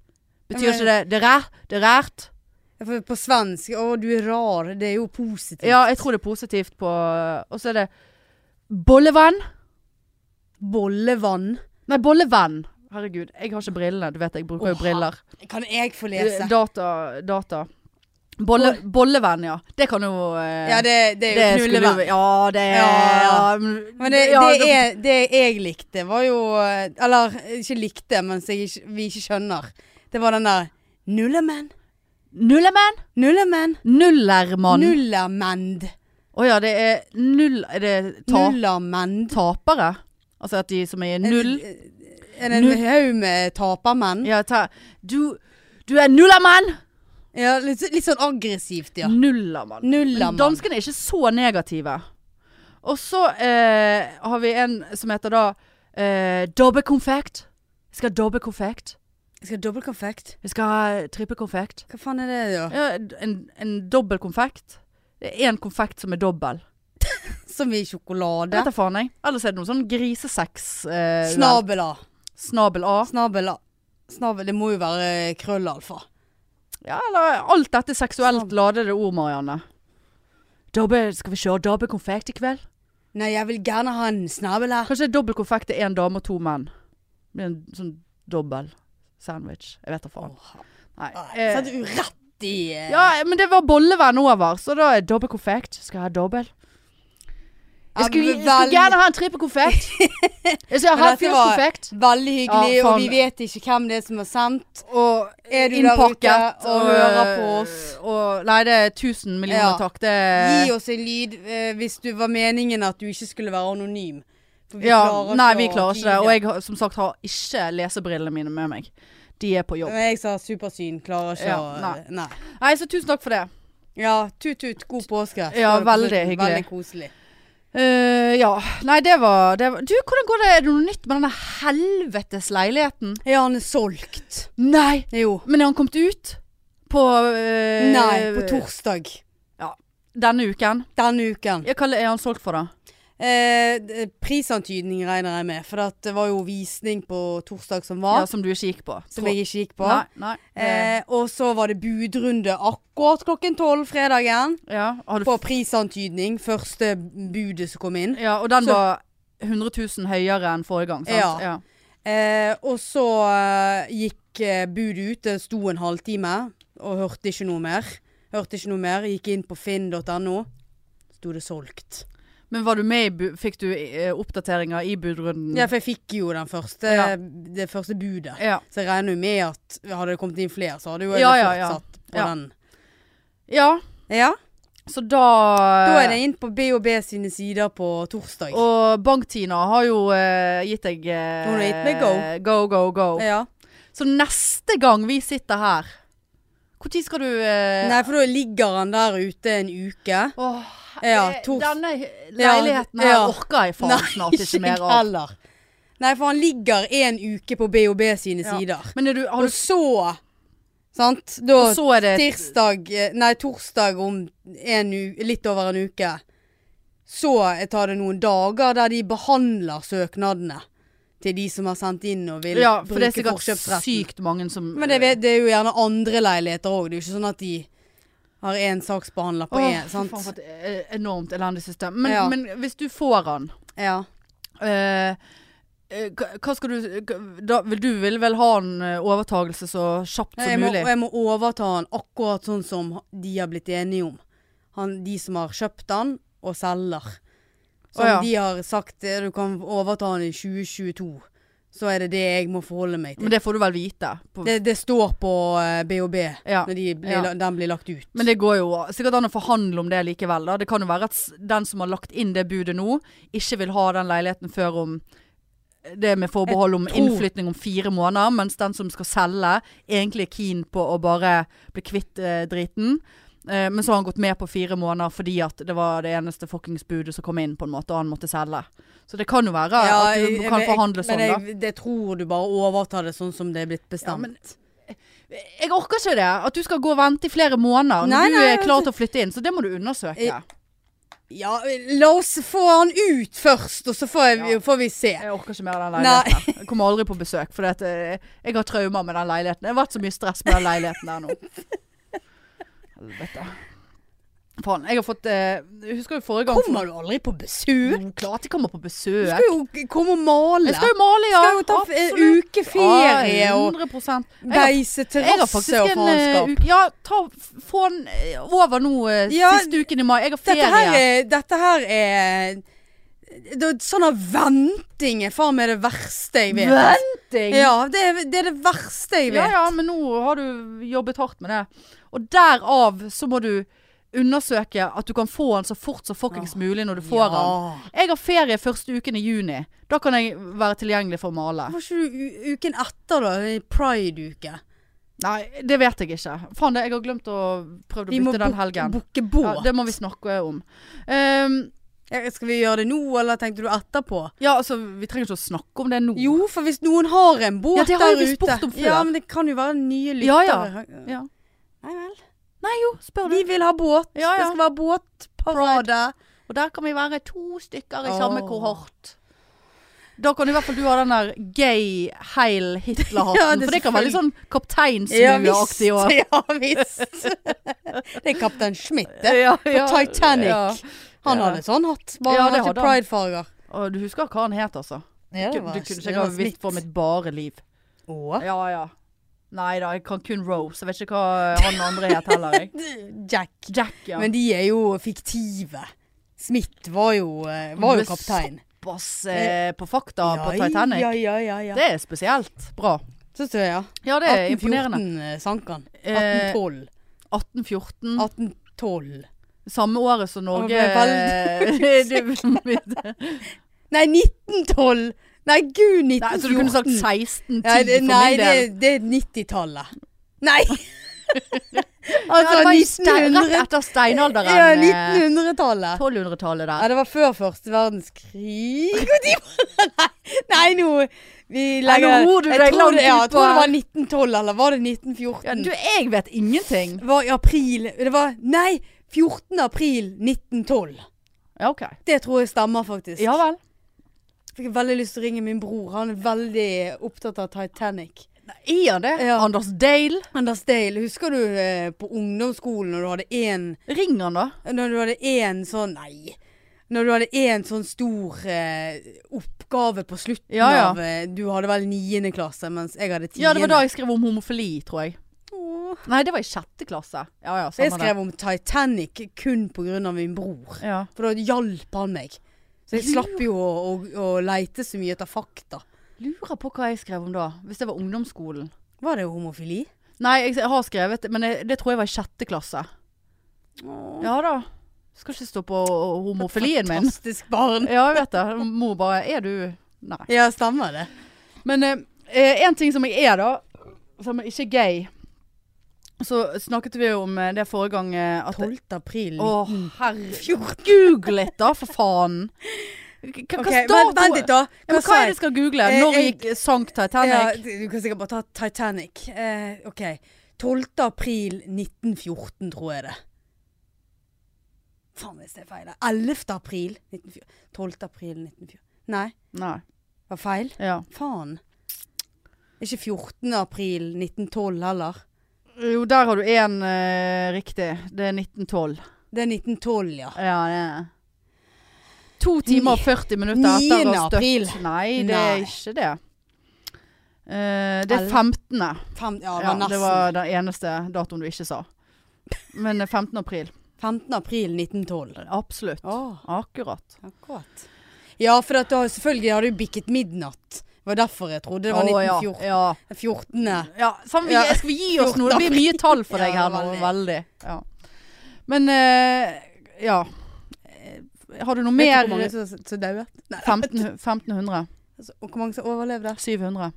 A: Betyr
B: Ja, men-
A: ikke det Det er rær, det er rært.
B: Ja, for På svensk Å, du er rar. Det er jo positivt.
A: Ja, jeg tror det er positivt på eh, Og så er det bollevenn.
B: Bollevann.
A: Nei, bollevenn. Herregud, jeg har ikke brillene. Du vet jeg bruker jo
B: Åh,
A: briller.
B: Kan jeg få
A: Eh,
B: lese?
A: Data, data. Bolle, bollevenn, ja. Det kan jo eh,
B: Ja, det, det er jo
A: skulle
B: knullevenn.
A: jo- Ja, det er
B: Ja,
A: mm,
B: Men det,
A: ja,
B: det, er, det jeg likte var jo Eller ikke likte, men som jeg ikke- vi ikke skjønner. Det var den der Nullemenn.
A: Nullemenn!
B: Nullemenn.
A: Nullermann. Å
B: Nullermend.
A: ja, det er null Er det ta,
B: Nullermend.
A: tapere? Altså at de som
B: Eh,
A: er null
B: Er det en
A: Null.
B: haug med tapermenn?
A: Ja, ta Du, du er nullermann!
B: Ja, litt, litt sånn aggressivt, ja.
A: Nullermann. Men
B: Nullermann.
A: Danskene er ikke så negative. Og så eh, har vi en som heter da eh, dobbekonfekt. Vi skal ha dobbekonfekt.
B: Jeg skal ha dobbeltkonfekt.
A: Vi skal ha trippekonfekt.
B: Hva faen er det, da?
A: Ja, en, en dobbel konfekt. Det er én konfekt som er dobbel.
B: Som i sjokolade?
A: Det vet jeg faen jeg. Ellers er det noe sånn grisesex. Eh,
B: Snabel A.
A: Snabel A.
B: Snabel A. Snabel, det må jo være eh, krøllalfa.
A: Ja, eller alt dette seksuelt ladede ord, Marianne. Dobbe, skal vi kjøre dobbel konfekt i kveld?
B: Nei, jeg vil gjerne ha en snabel her.
A: Kanskje dobbel konfekt er én dame og to menn. Det blir en sånn dobbel sandwich. Jeg vet da faen. Nei.
B: Satt
A: Eh,
B: du rett i eh,
A: ja, men det var bollevenn over, så da er dobbel konfekt. Skal jeg ha dobbel? Jeg skulle, jeg skulle
B: veldig-
A: gjerne ha en trippel konfekt. Jeg skal
B: Men
A: ha
B: dette var-
A: halvfjordskonfekt.
B: Veldig hyggelig,
A: Ja,
B: og
A: faen.
B: vi vet ikke hvem det er som har sendt.
A: og
B: Er du der
A: innpakket
B: ute og hører på oss?
A: eh, Og, nei, det er tusen millioner
B: Ja.
A: takk. Det
B: Gi oss en lyd eh, hvis du var meningen at du ikke skulle være anonym. For
A: ja,
B: klarer
A: Nei,
B: ikke
A: vi
B: å
A: klarer ikke det.
B: tyde.
A: Og jeg har- som sagt har ikke lesebrillene mine med meg. De er på jobb.
B: Men jeg sa supersyn, klarer ikke
A: Ja,
B: å
A: nei.
B: Nei.
A: Nei, så tusen takk for det.
B: Ja, tut-tut, god påske.
A: Ja,
B: Står det på
A: veldig
B: slutten.
A: hyggelig.
B: Veldig koselig.
A: Eh, ja. Nei, det var, det var Du, hvordan går det? Er det noe nytt med denne helvetes leiligheten?
B: Ja, han er solgt.
A: Nei!
B: Jo.
A: Men er han kommet ut? På eh,
B: Nei, på torsdag
A: Denne uken?
B: denne uken.
A: Ja, Hva er han solgt for, da?
B: Eh, d- prisantydning regner jeg med, for at det var jo visning på torsdag som var.
A: Ja, Som du ikke gikk på?
B: som jeg ikke gikk på.
A: Nei, nei. det-
B: Eh, og så var det budrunde akkurat klokken tolv fredagen.
A: ja. Har du
B: På prisantydning. Første budet som kom inn.
A: Ja, og den
B: Så-
A: var 100 000 høyere enn forrige gang, sant?
B: Ja. Eh, og så eh, gikk eh, budet ut. Det sto en halvtime og hørte ikke noe mer. Hørte ikke noe mer. Gikk inn på finn.no. Sto det solgt.
A: Men var du med i, bu- fikk du eh, oppdateringer i budrunden?
B: Ja, for jeg fikk jo den første,
A: Mm. Ja.
B: det første budet.
A: Ja.
B: Så jeg regner jo med at hadde det kommet inn flere, så hadde jo jeg
A: Ja, ja, ja.
B: fortsatt på
A: Ja.
B: den.
A: Ja,
B: Ja,
A: så da
B: da er
A: Eh.
B: det inn på B&B sine sider på torsdag.
A: Og Bank-Tina har jo eh, gitt deg eh,
B: Hun har gitt meg go.
A: Go, go, go.
B: ja.
A: Så neste gang vi sitter her Når skal du eh,
B: Nei, for da ligger han der ute en uke.
A: Åh,
B: Ja,
A: eh,
B: tors-
A: Denne leiligheten her
B: ja.
A: orker jeg faen snart ikke mer
B: jeg
A: av.
B: heller. Nei, for han ligger en uke på B&B sine
A: Ja.
B: sider.
A: Men er du, har du
B: Og så, sant, da
A: Og så er det
B: tirsdag, eh, nei torsdag om en u litt over en uke, så tar det noen dager der de behandler søknadene til de som har sendt inn og vil
A: Ja, for det
B: bruke
A: er sikkert
B: forkjøpsretten.
A: sykt mange som
B: Men det, vet- det er jo gjerne andre leiligheter òg. Det er jo ikke sånn at de har én saksbehandler på
A: Åh,
B: én.
A: fy
B: sant?
A: faen, for et eh, enormt elendig system. Men,
B: Ja.
A: men hvis du får han
B: Ja.
A: eh, eh, hva hva skal du hva- da, vil Du vil vel ha en eh, overtagelse så kjapt som
B: Jeg må,
A: mulig?
B: jeg må overta han akkurat sånn som de har blitt enige om. Han, de som har kjøpt han og selger. Som
A: Å, ja.
B: de har sagt eh, du kan overta han i 2022. Så er det det jeg må forholde meg
A: Men
B: til.
A: det får du vel vite. På,
B: Det, det står på eh, BHB
A: ja.
B: når de blir,
A: ja.
B: la- den blir lagt ut.
A: Men det går jo sikkert an å forhandle om det likevel. Da. Det kan jo være at s- den som har lagt inn det budet nå, ikke vil ha den leiligheten før om eh, det er med forbehold om
B: tror-
A: innflytning om fire måneder, mens den som skal selge, egentlig er keen på å bare bli kvitt eh, driten. Eh, men så har han gått med på fire måneder fordi at det var det eneste fuckings budet som kom inn, på en måte, og han måtte selge. Så det kan jo være at du kan forhandle sånn,
B: men
A: da.
B: jeg, Det tror du bare overtar det sånn som det er blitt bestemt.
A: Ja, men- Jeg orker ikke det. At du skal gå og vente i flere måneder når
B: Nei,
A: du
B: nei, altså-
A: er klar til å flytte inn. Så det må du undersøke.
B: Jeg- Ja, la oss få han ut først, og så får, jeg,
A: Ja.
B: får vi se.
A: Jeg orker ikke mer av den
B: Nei.
A: leiligheten. her. Jeg kommer aldri på besøk, for jeg har traumer med den leiligheten. Det har vært så mye stress med den leiligheten der nå. Helvete. Faen, jeg har fått eh, Jeg husker jo forrige gang
B: Kommer du aldri på besøk?
A: Jo, klart jeg kommer på
B: Du
A: besøk.
B: skal jo komme og male.
A: Jeg skal jo male, ja.
B: Skal jo ta f- eh,
A: Absolutt.
B: ukeferie
A: Ja,
B: og
A: 100 Jeg har,
B: Beise
A: jeg har
B: terrasse og
A: faktisk en eh,
B: faenskap.
A: uke Ja, ta, f- få den eh, over nå eh,
B: Ja,
A: siste uken i mai. Jeg har ferie.
B: Dette her er, dette her er det, Sånn av venting er faen meg det verste jeg vet.
A: Venting! Ja.
B: Ja, det er, det er det verste jeg
A: ja
B: vet.
A: men nå har du jobbet hardt med det. Og derav så må du undersøke at du kan få den så fort som fuckings mulig når du får den. Jeg har ferie første uken i juni. Da kan jeg være tilgjengelig for å male.
B: Hvorfor ikke du u- uken etter, da? Det er Pride-uke.
A: Nei, det vet jeg ikke. Faen, det- jeg har glemt å prøve å
B: Vi må
A: bytte den
B: bukke
A: helgen.
B: bukke
A: Ja,
B: båt.
A: det må vi snakke om. Ehm,
B: Ja, Skal vi gjøre det nå, eller tenkte du etterpå?
A: ja, altså, vi trenger ikke å snakke om det nå.
B: Jo, for hvis noen har en båt
A: Mm. Ja, det
B: der ute
A: har jo vi spurt om før.
B: Ja, men det kan jo være nye
A: Ja,
B: lyttere.
A: ja. Ja.
B: Nei vel.
A: Nei jo, spør
B: Vi
A: du.
B: vil ha båt.
A: Ja, ja.
B: Det skal være båtparade.
A: Og der kan vi være to stykker i
B: Åh.
A: samme kohort. Da kan i hvert fall du ha den der gay heil Hitler-hatten.
B: Ja, det er
A: for det kan være litt sånn kapteinsmueaktig. og-
B: Ja visst. det er kaptein Schmidt, det.
A: ja, ja.
B: På Titanic.
A: Ja.
B: Han
A: Ja.
B: hadde sånn hatt, bare
A: Ja,
B: han
A: det hadde
B: hadde ikke
A: han.
B: pridefarger.
A: Og du husker hva han het, altså?
B: Ja,
A: du, du kunne sikkert ha visst for mitt bare liv.
B: Åh.
A: Ja ja. Nei da, jeg kan kun Rose. Jeg vet ikke hva han andre het heller. Jeg.
B: Jack.
A: Jack, ja.
B: Men de er jo fiktive. Smith var jo, eh, var
A: du
B: jo
A: er
B: kaptein.
A: Pass eh, på fakta på
B: Ja,
A: Titanic.
B: Ja, ja, ja. ja.
A: Det er spesielt bra.
B: Syns du det, ja?
A: Ja, det er imponerende. Eh, mm.
B: 1814 sank han. 1812.
A: 1814.
B: 1812.
A: Samme året som Norge
B: Å,
A: Du-
B: Nei, 1912! Nei, gud, 1914.
A: Nei, Så du kunne sagt 1610
B: Nei, det,
A: for
B: nei,
A: min
B: det,
A: del.
B: det er 90-tallet. Nei!
A: Ja,
B: altså,
A: det var i stein-
B: 1900
A: Rett etter steinalderen.
B: Ja,
A: eh,
B: 1900-tallet.
A: 1200-tallet der.
B: Ja, det var før første verdenskrig. Og de Nei, nå Vi
A: Nei, nå
B: legger
A: ror du
B: jeg
A: deg
B: tror
A: langt
B: det- ja, Jeg
A: ut på
B: tror det
A: her.
B: var 1912, eller var det
A: Ja,
B: 1914?
A: du, jeg vet ingenting.
B: Det var i april Det var Nei! 14. april 1912.
A: Ja, OK.
B: Det tror jeg stemmer, faktisk.
A: Ja vel.
B: Fikk veldig lyst til å ringe min bror. Han er veldig opptatt av Titanic.
A: Er han det?
B: Ja.
A: Anders Dale?
B: Anders Dale, husker du eh, på ungdomsskolen når du hadde én
A: Ring han, da.
B: Når du hadde én sånn Nei. Når du hadde én sånn stor eh, oppgave på slutten
A: Ja, ja.
B: av eh, Du hadde vel niende klasse, mens jeg hadde tiende.
A: Ja, det var da jeg skrev om homofili, tror jeg.
B: Åh.
A: Nei, det var i sjette klasse. Ja ja,
B: Jeg
A: samme det.
B: skrev om Titanic kun pga. min bror.
A: Ja.
B: For da hjalp han meg. Så jeg slapp jo å, å, å leite så mye etter fakta.
A: Lurer på hva jeg skrev om da. Hvis det var ungdomsskolen.
B: Var det homofili?
A: Nei, jeg har skrevet det, men jeg, det tror jeg var i sjette klasse. Ja da. Skal ikke stå på homofilien min.
B: Fantastisk barn.
A: Ja, jeg vet det. Mor bare Er du Nei.
B: Ja, stemmer det.
A: Men eh, eh, en ting som jeg er, da, som ikke er gay Så snakket vi jo om eh, det forrige gang eh, at
B: 12. april.
A: Å, herre
B: 14.
A: Google litt, da, for faen! Hva, hva
B: Ok,
A: står
B: vent, vent litt, da.
A: Ja, men
B: sa
A: hva er
B: jeg?
A: det jeg skal google?
B: Eh,
A: Når
B: jeg-
A: gikk sank Titanic?
B: Ja, du kan sikkert bare ta Titanic. Eh, ok. 12. april 1914, tror jeg det. Faen hvis det er feil. da. 11. april 1914. 12. april 1914. Nei,
A: Nei.
B: var feil.
A: Ja.
B: Faen. Ikke 14. april 1912 heller.
A: Jo, der har du én riktig. Det er 1912.
B: Det er 1912, ja.
A: Ja, det er To timer og 40 minutter etter å
B: 9.
A: ha støtt.
B: april.
A: Nei, det er
B: Nei.
A: ikke det. Eh, det er
B: Elleve.
A: 15.
B: Fem,
A: Ja,
B: ja, det var nesten.
A: det var den eneste datoen du ikke sa. Men eh, 15. april.
B: 15. april 1912.
A: Absolutt.
B: Å,
A: Akkurat.
B: akkurat. Ja, for at da, selvfølgelig hadde du bikket midnatt. Det var derfor jeg trodde det var
A: Å,
B: 1914.
A: Ja. ja.
B: 14.
A: Ja, sånn, vi,
B: Ja.
A: Skal vi gi oss nå? Det blir mye tall for deg
B: Ja,
A: her nå.
B: veldig.
A: Veldig. Ja. Men eh, ja. Eh, Har du noe
B: Vet
A: mer?
B: du hvor mange som, som dauer? Nei.
A: 15, 1500?
B: Altså, og hvor mange som overlevde?
A: 700?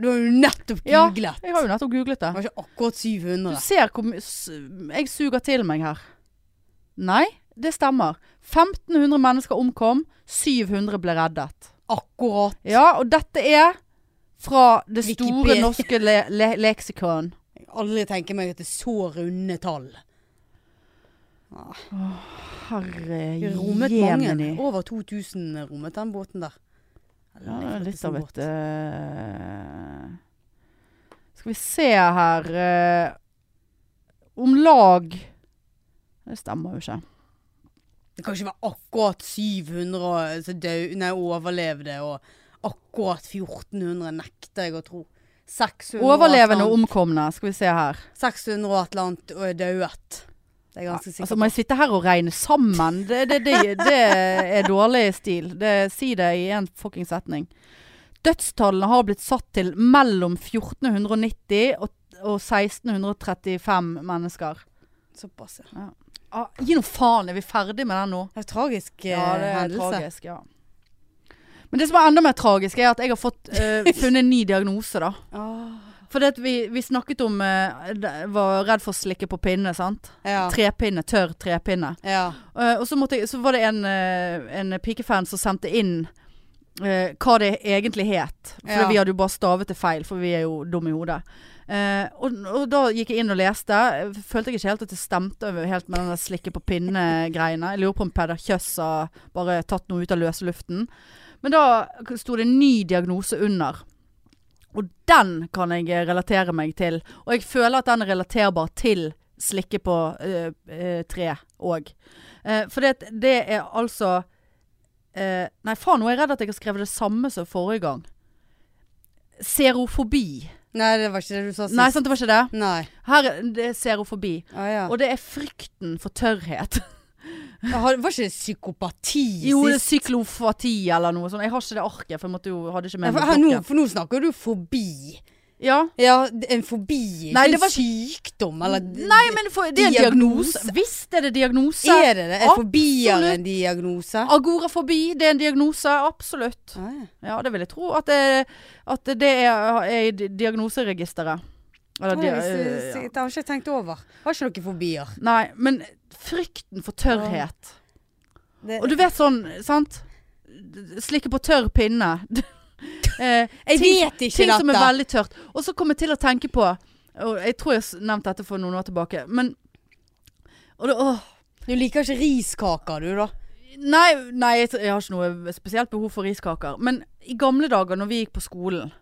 B: Du har jo nettopp
A: Ja.
B: googlet.
A: Jeg har jo nettopp googlet
B: Det
A: det.
B: var ikke akkurat
A: Du
B: 700.
A: ser hvor mye s- Jeg suger til meg her. Nei, det stemmer. 1500 mennesker omkom. 700 ble reddet.
B: Akkurat.
A: Ja, og dette er fra det store
B: Wikipedia.
A: norske le le leksikon.
B: Jeg kan aldri tenke meg at det er så runde tall.
A: Herre
B: Vi rommet mange.
A: jemini.
B: Over 2000 rommet den båten der.
A: Ja,
B: Eller,
A: det er litt
B: faktisk
A: av
B: en
A: et
B: båt.
A: eh, Skal vi se her eh, Om lag Det stemmer jo ikke.
B: Det kan ikke være akkurat 700 og- som dø- nei, overlevde, og akkurat 1400 nekter jeg å tro. 600 og
A: Overlevende og
B: et eller annet-
A: omkomne, skal vi se her.
B: 600 og et eller annet og er døet. Det er
A: Ja,
B: ganske sikkert.
A: altså, må jeg sitte her og regne sammen? Det, det, det, det er dårlig stil. Det, si det i en fucking setning. Dødstallene har blitt satt til mellom 1490 og, og 1635 mennesker.
B: Såpass, ja.
A: Ah, gi nå faen, er vi ferdig med den nå?
B: Det er tragisk eh,
A: Ja, det er
B: hendelse.
A: tragisk, ja. Men det som er enda mer tragisk, er at jeg har fått, eh, funnet en ny diagnose, da.
B: Åh,
A: For det at vi, vi snakket om eh, det- Var redd for å slikke på pinne, sant?
B: ja.
A: Trepinne. Tørr trepinne.
B: ja.
A: Eh, og så, måtte jeg, så var det en, eh, en pikefan som sendte inn eh, hva det egentlig het. For
B: Ja.
A: vi hadde jo bare stavet det feil, for vi er jo dumme i hodet. Eh, og, og da gikk jeg inn og leste. Følte jeg ikke helt at det stemte over helt med den der slikke på pinne-greiene. Jeg lurer på om Peder Kjøss har bare tatt noe ut av løse luften. Men da sto det en ny diagnose under. Og den kan jeg eh, relatere meg til. Og jeg føler at den er relaterbar til slikke på eh, eh, tre òg. for det, Eh, at det er altså eh, Nei, faen, nå er jeg redd at jeg har skrevet det samme som forrige gang. Serofobi.
B: Nei, det var ikke det du sa sist.
A: Nei, sant, det var ikke det?
B: Nei.
A: Her er det serofobi.
B: Å, ja.
A: Og det er frykten for tørrhet.
B: Har- var ikke det psykopati
A: Jo, det er
B: sist?
A: syklofati eller noe sånt. Jeg har ikke det arket, for jeg måtte jo, hadde ikke
B: Ja,
A: med
B: for,
A: meg
B: her, nå,
A: blokken.
B: for nå snakker du fobi.
A: Ja.
B: Ja, d- en fobi.
A: Nei,
B: ikke
A: det var-
B: en sykdom, eller d-
A: Nei, men for, det er
B: Diagnose.
A: diagnose. Visst er det diagnose.
B: Er det det? Er fobier
A: Absolutt.
B: en diagnose?
A: Agorafobi, det er en diagnose. Absolutt.
B: Ah, ja.
A: Ja, det vil jeg tro. At det, at det er, er i di- diagnoseregisteret. Eller
B: Nei,
A: dia-
B: hvis-
A: øh,
B: hvis-
A: ja.
B: Det har ikke jeg tenkt over. Har ikke noen fobier.
A: Nei, men frykten for tørrhet.
B: Det,
A: Og du vet sånn, sant? Slikke på tørr pinne. eh,
B: jeg
A: ting-
B: vet ikke
A: Ting
B: dette.
A: som er veldig tørt. Og så kom jeg til å tenke på og Jeg tror jeg s- nevnte dette for noen år tilbake, men og det, åh,
B: Du liker ikke riskaker, du da?
A: Nei, nei jeg, jeg har ikke noe spesielt behov for riskaker. Men i gamle dager når vi gikk på skolen,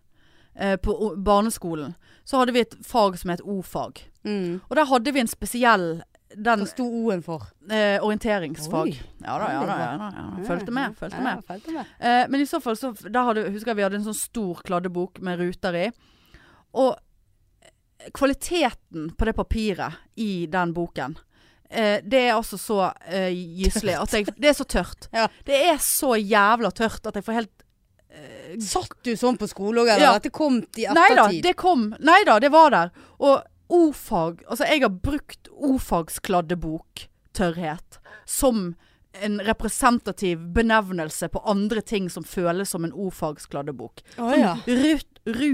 A: eh, på o- barneskolen, så hadde vi et fag som het O-fag.
B: Mm.
A: Og der hadde vi en spesiell den,
B: Hva sto O-en for?
A: eh, orienteringsfag.
B: Oi.
A: Ja da, ja da. Ja, da, ja, da. Fulgte med. Fulgte med.
B: Ja, fulgte med.
A: Eh, men i så fall, så der hadde, husker jeg vi hadde en sånn stor kladdebok med ruter i. Og kvaliteten på det papiret i den boken, eh, det er altså så eh, gyselig at jeg Det er så tørt.
B: Ja.
A: Det er så jævla tørt at jeg får helt eh,
B: Satt du sånn på skole òg, eller?
A: Ja.
B: Dette kom i ettertid?
A: Nei da, det kom. Nei da, det var der. Og ordfag Altså, jeg har brukt ordfagskladdebok tørrhet som en representativ benevnelse på andre ting som føles som en ordfagskladdebok.
B: Å, ja.
A: Rutt, ru,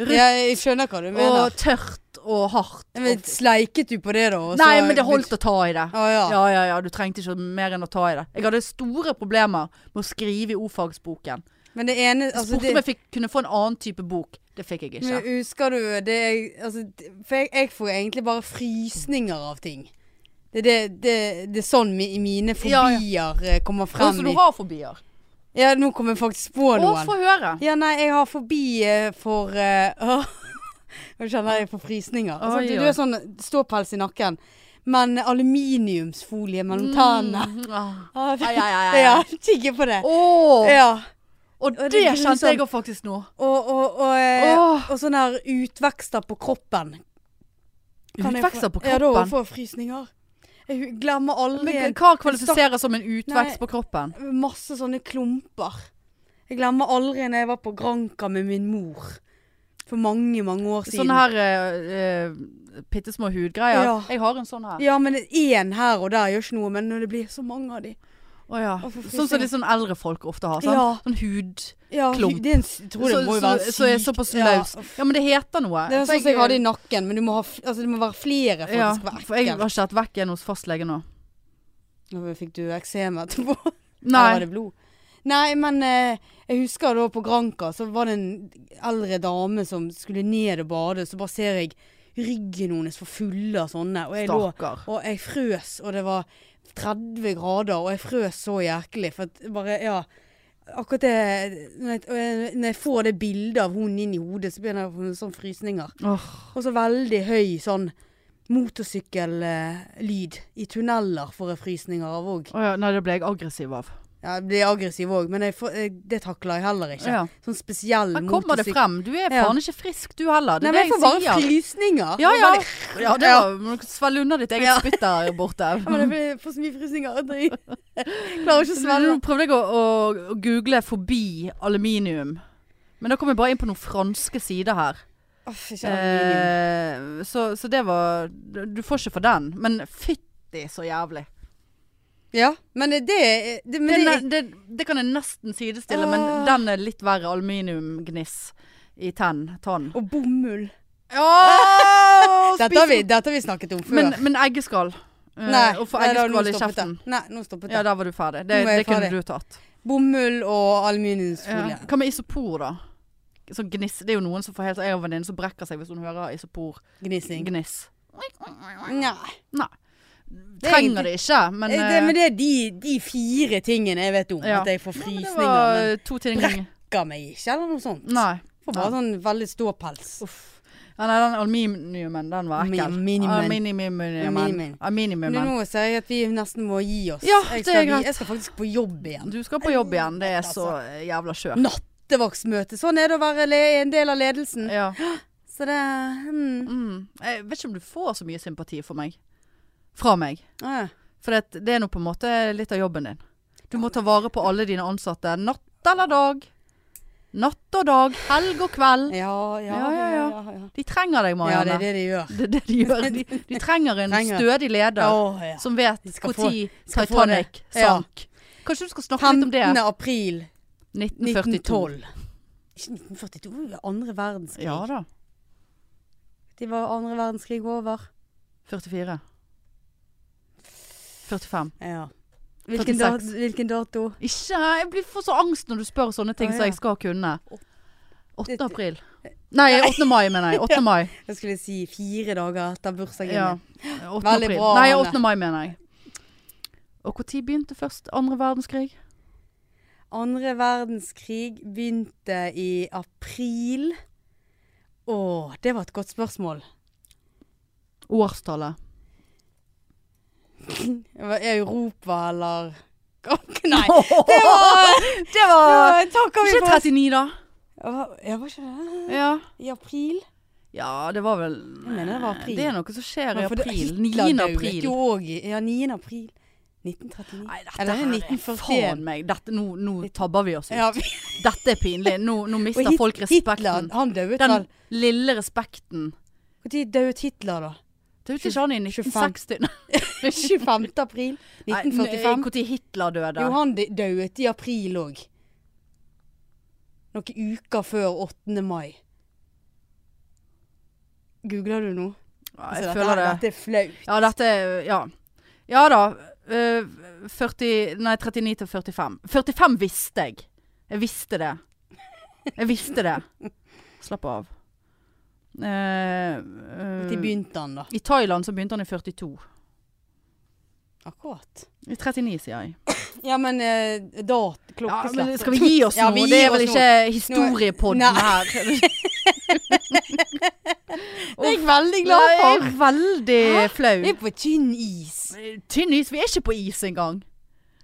A: rutt
B: ja, jeg skjønner hva du mener.
A: og tørt og hardt.
B: men,
A: Og-
B: sleiket du på det, da? og så-
A: Nei, men det holdt å ta i det.
B: Å ja.
A: Ja, ja, ja, du trengte ikke mer enn å ta i det. Jeg hadde store problemer med å skrive i ordfagsboken.
B: Men det ene
A: Jeg
B: altså,
A: spurte
B: det,
A: om jeg fikk, kunne få en annen type bok. Det fikk jeg ikke.
B: Men husker du det jeg- altså, det- For jeg, jeg får egentlig bare frysninger av ting. Det er det, det, det er sånn mi, mine
A: Ja, ja.
B: fobier eh, kommer
A: Og
B: frem
A: så
B: i.
A: du har fobier.
B: Ja, nå kom jeg faktisk
A: Å,
B: på noen.
A: få høre.
B: Ja, nei, jeg har fobi eh, for eh, åh. Nå kjenner jeg på frysninger. Altså,
A: Oi,
B: du, du
A: oi.
B: er sånn ståpels i nakken. Men aluminiumsfolie
A: Mm.
B: mellom tennene. Ah,
A: Ai, ai, ai, ai.
B: Ja, kigge på det.
A: Åh,
B: Ja.
A: og
B: det er
A: det kjente
B: grusomt.
A: jeg også faktisk nå.
B: Og, og, og, eh,
A: Åh.
B: og sånne her utvekster på kroppen. Kan jeg få-
A: Utvekster på
B: Ja, da
A: kroppen.
B: får jeg frysninger. Jeg hu- glemmer aldri
A: Men
B: en-
A: hva kvalifiserer som en utvekst
B: Nei.
A: på kroppen?
B: masse sånne klumper. Jeg glemmer aldri når jeg var på Granka med min mor. For mange, mange år siden.
A: Sånne her uh, pittesmå hudgreier.
B: Ja.
A: Jeg har en sånn her.
B: Ja, men én her og der gjør ikke noe, men når det blir så mange av de
A: Å ja.
B: Å, for fy
A: Sånn som
B: søren.
A: litt sånn eldre folk ofte har. Sant?
B: Ja.
A: Sånn hud.
B: ja,
A: Klump.
B: Det er en, s- jeg tror det
A: Så-
B: må
A: så-
B: jo være sykt.
A: så er såpass løs.
B: Ja.
A: Ja, men det heter noe.
B: Det er
A: For
B: sånn som jeg hadde i nakken, men du må ha, f- altså, det må være flere for at
A: ja,
B: det skal være
A: for jeg
B: ekkelt.
A: har ikke hatt vekk en hos fastlegen nå.
B: Nå fikk du eksem etterpå. Eller var
A: Nei.
B: det blod? Nei, men eh, jeg husker da på Granka, så var det en eldre dame som skulle ned og bade, så bare ser jeg ryggen hennes for full av sånne, og jeg lå
A: Stakkar.
B: og jeg frøs, og det var 30 grader, og jeg frøs så jæklig, for at bare, ja, akkurat det, når jeg, og jeg- når jeg får det bildet av hun inn i hodet, så begynner jeg å få sånne frysninger.
A: Åh,
B: Og så veldig høy sånn motorsykkellyd i tunneler får jeg frysninger av òg.
A: Å ja, nei, det ble jeg aggressiv av.
B: Ja, jeg blir aggressiv òg, men jeg får, eh, det takler jeg heller ikke.
A: Ja.
B: Sånn spesiell
A: Her kommer det
B: motorsykkel-
A: frem. Du er
B: Ja.
A: faen ikke frisk du heller. Det
B: Nei,
A: er
B: men jeg får
A: det jeg
B: bare
A: sier.
B: frysninger.
A: Ja,
B: Jeg
A: ja.
B: bare-
A: ja det
B: Ja.
A: var, må du svelge unna ditt eget
B: Ja.
A: spytt der borte.
B: Ja, men jeg blir- får så mye frysninger. at jeg Klarer ikke å
A: Nå
B: svelge.
A: prøvde jeg å, å, å google forbi aluminium. Men da kom jeg bare inn på noen franske sider her.
B: Uff, ikke aluminium.
A: Eh, så, så det var Du får ikke for den. Men fytti så jævlig.
B: Ja, men det, det, det, men
A: Det,
B: det,
A: er ne- det, det kan jeg nesten sidestille, men
B: Åh.
A: den er litt verre. Aluminiumgniss i tenn. Tann.
B: Og bomull.
A: Åh,
B: Dette har, vi, dette har vi snakket om før.
A: Men, men eggeskall. Eh,
B: nei,
A: å få
B: nei, da, nå
A: eggeskall i
B: stoppet det.
A: kjeften.
B: Nei, nå stoppet det.
A: Ja, der var du ferdig. Det,
B: Nå er
A: det
B: jeg
A: kunne
B: ferdig.
A: du tatt.
B: Bomull og
A: Ja.
B: aluminiumsfolie.
A: Hva med isopor, da? Sånn gniss. Det er jo noen som får helt Jeg har en venninne som brekker seg hvis hun hører isopor-gniss.
B: Gnissing. Nei.
A: Nei.
B: er
A: Trenger det ikke, men,
B: Eh, Det,
A: eh,
B: men det er de, de fire tingene jeg vet om
A: Ja.
B: at jeg får
A: men det
B: frysninger.
A: var
B: Men
A: eh, to ting
B: brekker meg ikke, eller noe sånt.
A: Nei.
B: Får bare sånn veldig ståpels.
A: Uff. Ja, nei, den aluminiumen, den var ekkel.
B: Mi- minimen.
A: Aluminiumen.
B: Aluminimen. Men
A: Aluminiumen.
B: nå ser jeg at vi nesten må gi oss.
A: Ja,
B: jeg,
A: det er
B: skal,
A: greit.
B: jeg skal faktisk på jobb igjen.
A: Du skal på jobb igjen. Det er
B: Altså.
A: så eh, jævla skjørt.
B: Nattevaktsmøte. Sånn er det å være le en del av ledelsen.
A: Ja.
B: Så det hmm.
A: Mm. Jeg vet ikke om du får så mye sympati for meg. Fra meg.
B: ah,
A: For det, det er nå på en måte litt av jobben din. Du må ta vare på alle dine ansatte natt eller dag. Natt og dag, helg og kveld.
B: ja, ja,
A: Ja, ja, ja.
B: ja, ja.
A: De trenger deg,
B: Ja, det
A: Marianne.
B: er det de gjør.
A: det er det de gjør. De, de trenger en
B: Trenger.
A: stødig leder
B: Åh, ja.
A: som vet
B: De skal få-
A: når
B: skal få
A: Titanic
B: det. Ja.
A: sank. Kanskje du skal snakke litt
B: 15.
A: om det?
B: april
A: 1942.
B: 1912. Ikke 1942, det var jo andre verdenskrig.
A: Ja da.
B: De var andre verdenskrig over.
A: 44. 45.
B: Ja. Hvilken,
A: 46.
B: dat hvilken dato?
A: Ikke Jeg blir får så angst når du spør sånne ting
B: Å,
A: som
B: ja.
A: jeg skal kunne. 8.
B: Det-
A: april. Nei, 8. mai, mener jeg. 8. mai.
B: Jeg skulle si fire dager etter bursdagen
A: Ja.
B: min.
A: 8.
B: Veldig
A: april.
B: bra,
A: Nei,
B: Hanne.
A: 8. mai, mener jeg. Og når begynte først andre verdenskrig?
B: Andre verdenskrig begynte i april. Å, det var et godt spørsmål.
A: Årstallet.
B: Var Europa eller Nei.
A: Det var, det var
B: Ja, takker vi
A: Ikke
B: for oss.
A: 39, da?
B: Jeg var ikke det.
A: Ja.
B: I april?
A: ja, det var vel
B: Jeg mener det var april.
A: Det er noe som skjer i
B: Ja, for det-
A: april.
B: Hitler
A: 9.
B: døde
A: april.
B: Jo òg. Ja, 9. april 1939.
A: Nei, dette
B: Eller
A: her er
B: 1941.
A: faen meg dette, nå, nå tabber vi oss ut.
B: Ja, vi-
A: Dette er pinlig. Nå, nå
B: og
A: mister
B: Hit-
A: folk respekten.
B: Hitler, han døde vel
A: Den lille respekten.
B: Når døde Hitler, da?
A: Det er jo ikke han i 1960. Nei,
B: 25. april 1945.
A: Når Hitler døde.
B: Jo, han dø- døde i april òg. Noen uker før 8. mai. Googler du nå?
A: Ja,
B: Altså,
A: jeg
B: dette,
A: føler det.
B: dette er flaut.
A: Ja, dette er- Ja, ja da. eh, 40, nei, 39 til 45. 45 visste jeg. Jeg visste det. Jeg visste det. Slapp av. Eh, eh,
B: Når begynte han, da?
A: I Thailand så begynte han i 42.
B: Akkurat.
A: I 39, sier jeg.
B: Ja, men eh, da
A: Ja,
B: Klokkeslett.
A: men skal vi gi oss
B: Ja,
A: nå?
B: vi
A: Det
B: gir
A: er vel
B: oss nå.
A: ikke historiepodden
B: Nei.
A: her.
B: Det er jeg veldig glad
A: Nei,
B: for.
A: jeg er veldig flau.
B: Vi er på tynn is.
A: Tynn is, vi er ikke på is engang.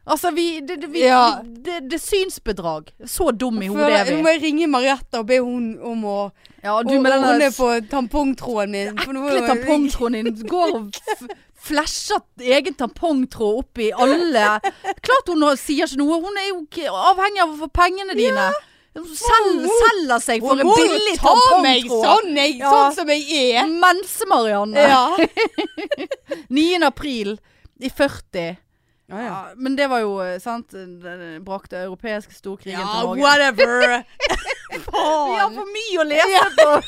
A: Altså, vi Det, det, vi,
B: Ja.
A: det, det er synsbedrag. Så dum i hodet
B: Føler-
A: er
B: Nå
A: vi.
B: må jeg ringe Marietta og be hun om å
A: Ja, du
B: Hun
A: med den
B: hun
A: der
B: er på tampongtråden min. for nå-
A: ekle tampongtråden din. Går og f flasher egen tampongtråd opp i alle Klart hun har- sier ikke noe. Hun er jo ikke avhengig av å få pengene dine. Hun sel-
B: Hun-
A: selger seg for
B: Hun
A: en
B: må jo
A: billig
B: ta meg
A: tampongtråd.
B: sånn, jeg,
A: Ja. Mm.
B: sånn som jeg er.
A: Mense-Marianne.
B: Ja.
A: 9. april i 40.
B: Ja, ja.
A: Ja, men det var jo eh, sant Den brakte europeiske storkrigen
B: ja
A: til Norge.
B: whatever.
A: Vi har
B: Faen.
A: for mye å lese på!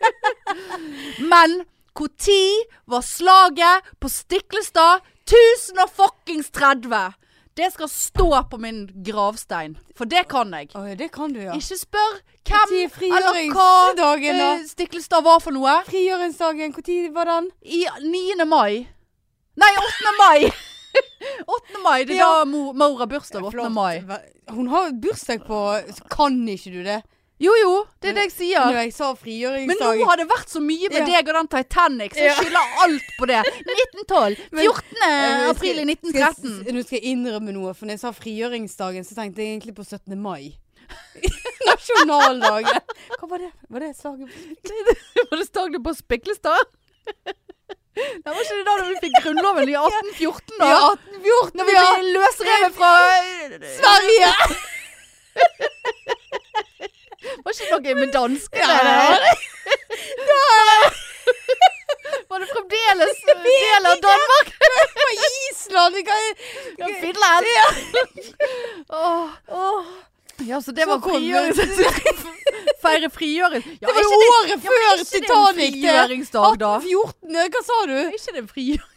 A: Men når var slaget på Stiklestad 1030? Det skal stå på min gravstein, for det kan jeg.
B: Å, det kan du, ja.
A: Ikke spør
B: Når
A: hvem eller hva
B: frigjøringsdagen, da?
A: eh, Stiklestad var for noe.
B: Frigjøringsdagen, når var den?
A: I 9. mai Nei, 8. mai! 8. mai, Det er
B: Ja.
A: da Mo- Maura bursdag. 8. mai.
B: Hun har bursdag på så Kan ikke du det?
A: Jo jo, det er det jeg sier.
B: Når jeg sa frigjøringsdag
A: Men nå har det vært så mye med
B: Ja.
A: deg og den Titanic, så jeg
B: Ja.
A: skylder alt på det. 1912.
B: Men-
A: 14.
B: Eh,
A: april i
B: skal jeg-
A: 1913.
B: Nå skal jeg innrømme noe, for når jeg sa frigjøringsdagen, så tenkte jeg egentlig på 17. mai. Nasjonaldagen. Hva var det? Var det slaget?
A: Var det stag du på Spiklestad? Det var ikke det da vi fikk Grunnloven i 1814, da?
B: Ja, 1814!
A: Når vi
B: ja.
A: ble løsrevet fra
B: Sverige!
A: Var ikke noe med danskene?
B: Ja, det
A: det. Var det fremdeles del av Danmark?
B: På Island! Det kan-
A: Ja, Finland! Ja. Åh. ja, så det
B: Så
A: var
B: kom det-
A: frigjøring. Feire frigjøring. Ja,
B: Det var
A: er
B: jo
A: ikke
B: året
A: ja, men
B: før
A: er ikke det en
B: Titanic! det.
A: Frigjøringsdag, da.
B: 1814, eh, hva sa du?
A: Er ikke det en frigjøringsdag?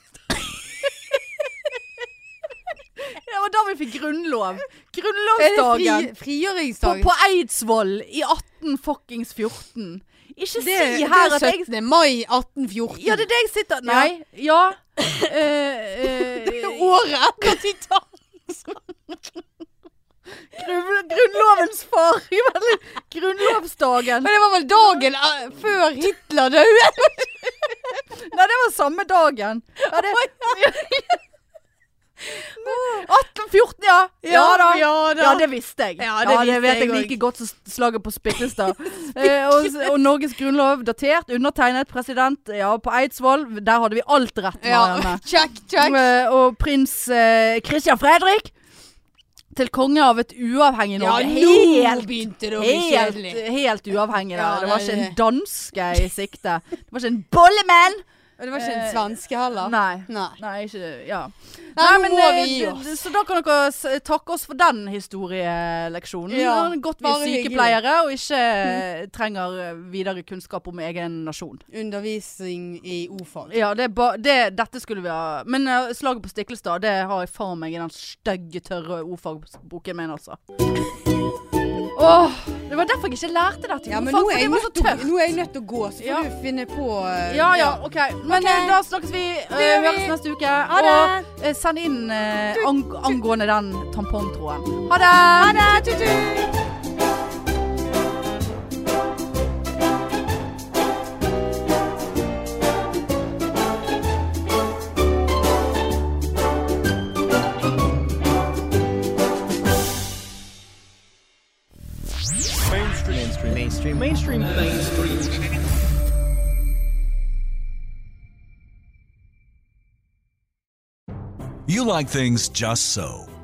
A: det var da vi fikk grunnlov.
B: Er det fri,
A: Grunnlovsdagen. På,
B: frigjøringsdagen?
A: på Eidsvoll i 18 fuckings 14. Ikke
B: det,
A: si her at
B: det er
A: jeg
B: 17. mai 1814.
A: Ja, det er det jeg sitter Nei. Ja. Eh,
B: Det er
A: eh,
B: året etter Titanic.
A: Grunn- Grunnlovens far i vel- Grunnlovsdagen.
B: Men det var vel dagen eh, før Hitler døde?
A: Nei, det var samme dagen. Ja, det... 1814, ja. Ja da.
B: Ja da.
A: Ja, det visste jeg.
B: Ja, det visste
A: vet
B: jeg
A: jeg
B: også.
A: like godt som slaget på Spiklestad. eh, og, og Norges grunnlov datert, undertegnet president ja, på Eidsvoll. Der hadde vi alt rett, Marianne.
B: Ja, check, check.
A: Eh, og prins eh, Christian Fredrik til konge av et uavhengig
B: Ja,
A: Norge.
B: nå
A: helt,
B: begynte det å bli kjedelig.
A: helt, helt uavhengig. da.
B: Ja,
A: det var
B: nei,
A: ikke en
B: det-
A: danske i sikte. Det var ikke en bollemann!
B: Og det var ikke
A: Eh,
B: en svenske heller.
A: Nei.
B: Nei.
A: Nei, ikke Ja.
B: Nei, nå må
A: eh,
B: vi gi
A: d-
B: oss.
A: d- Så da kan dere s- takke oss for den historieleksjonen.
B: Ja,
A: Det er Godt vi er
B: bare hyggelig.
A: sykepleiere og ikke eh, trenger eh, videre kunnskap om egen nasjon.
B: Undervisning i ordfag.
A: Ja, det er ba det, dette skulle vi ha Men eh, slaget på Stiklestad, det har jeg faen meg i den stygge, tørre ordfagboken min, altså. Åh, det var derfor jeg ikke lærte dette i
B: Ja, men
A: ordfag, for
B: nå er, jeg
A: det var så
B: nødt til,
A: tørt.
B: nå er jeg nødt til å gå, så får
A: Ja.
B: du finne på eh,
A: Ja ja, OK. Men eh, da snakkes vi. eh,
B: Det gjør vi.
A: høres neste uke.
B: Ha det!
A: Og eh, send inn eh,
B: Tut,
A: ang angående den tampongtråden. Ha det! Ha det!
B: Tut-tut!
C: mainstream, mainstream, mainstream, mainstream, mainstream.
D: You like things just so.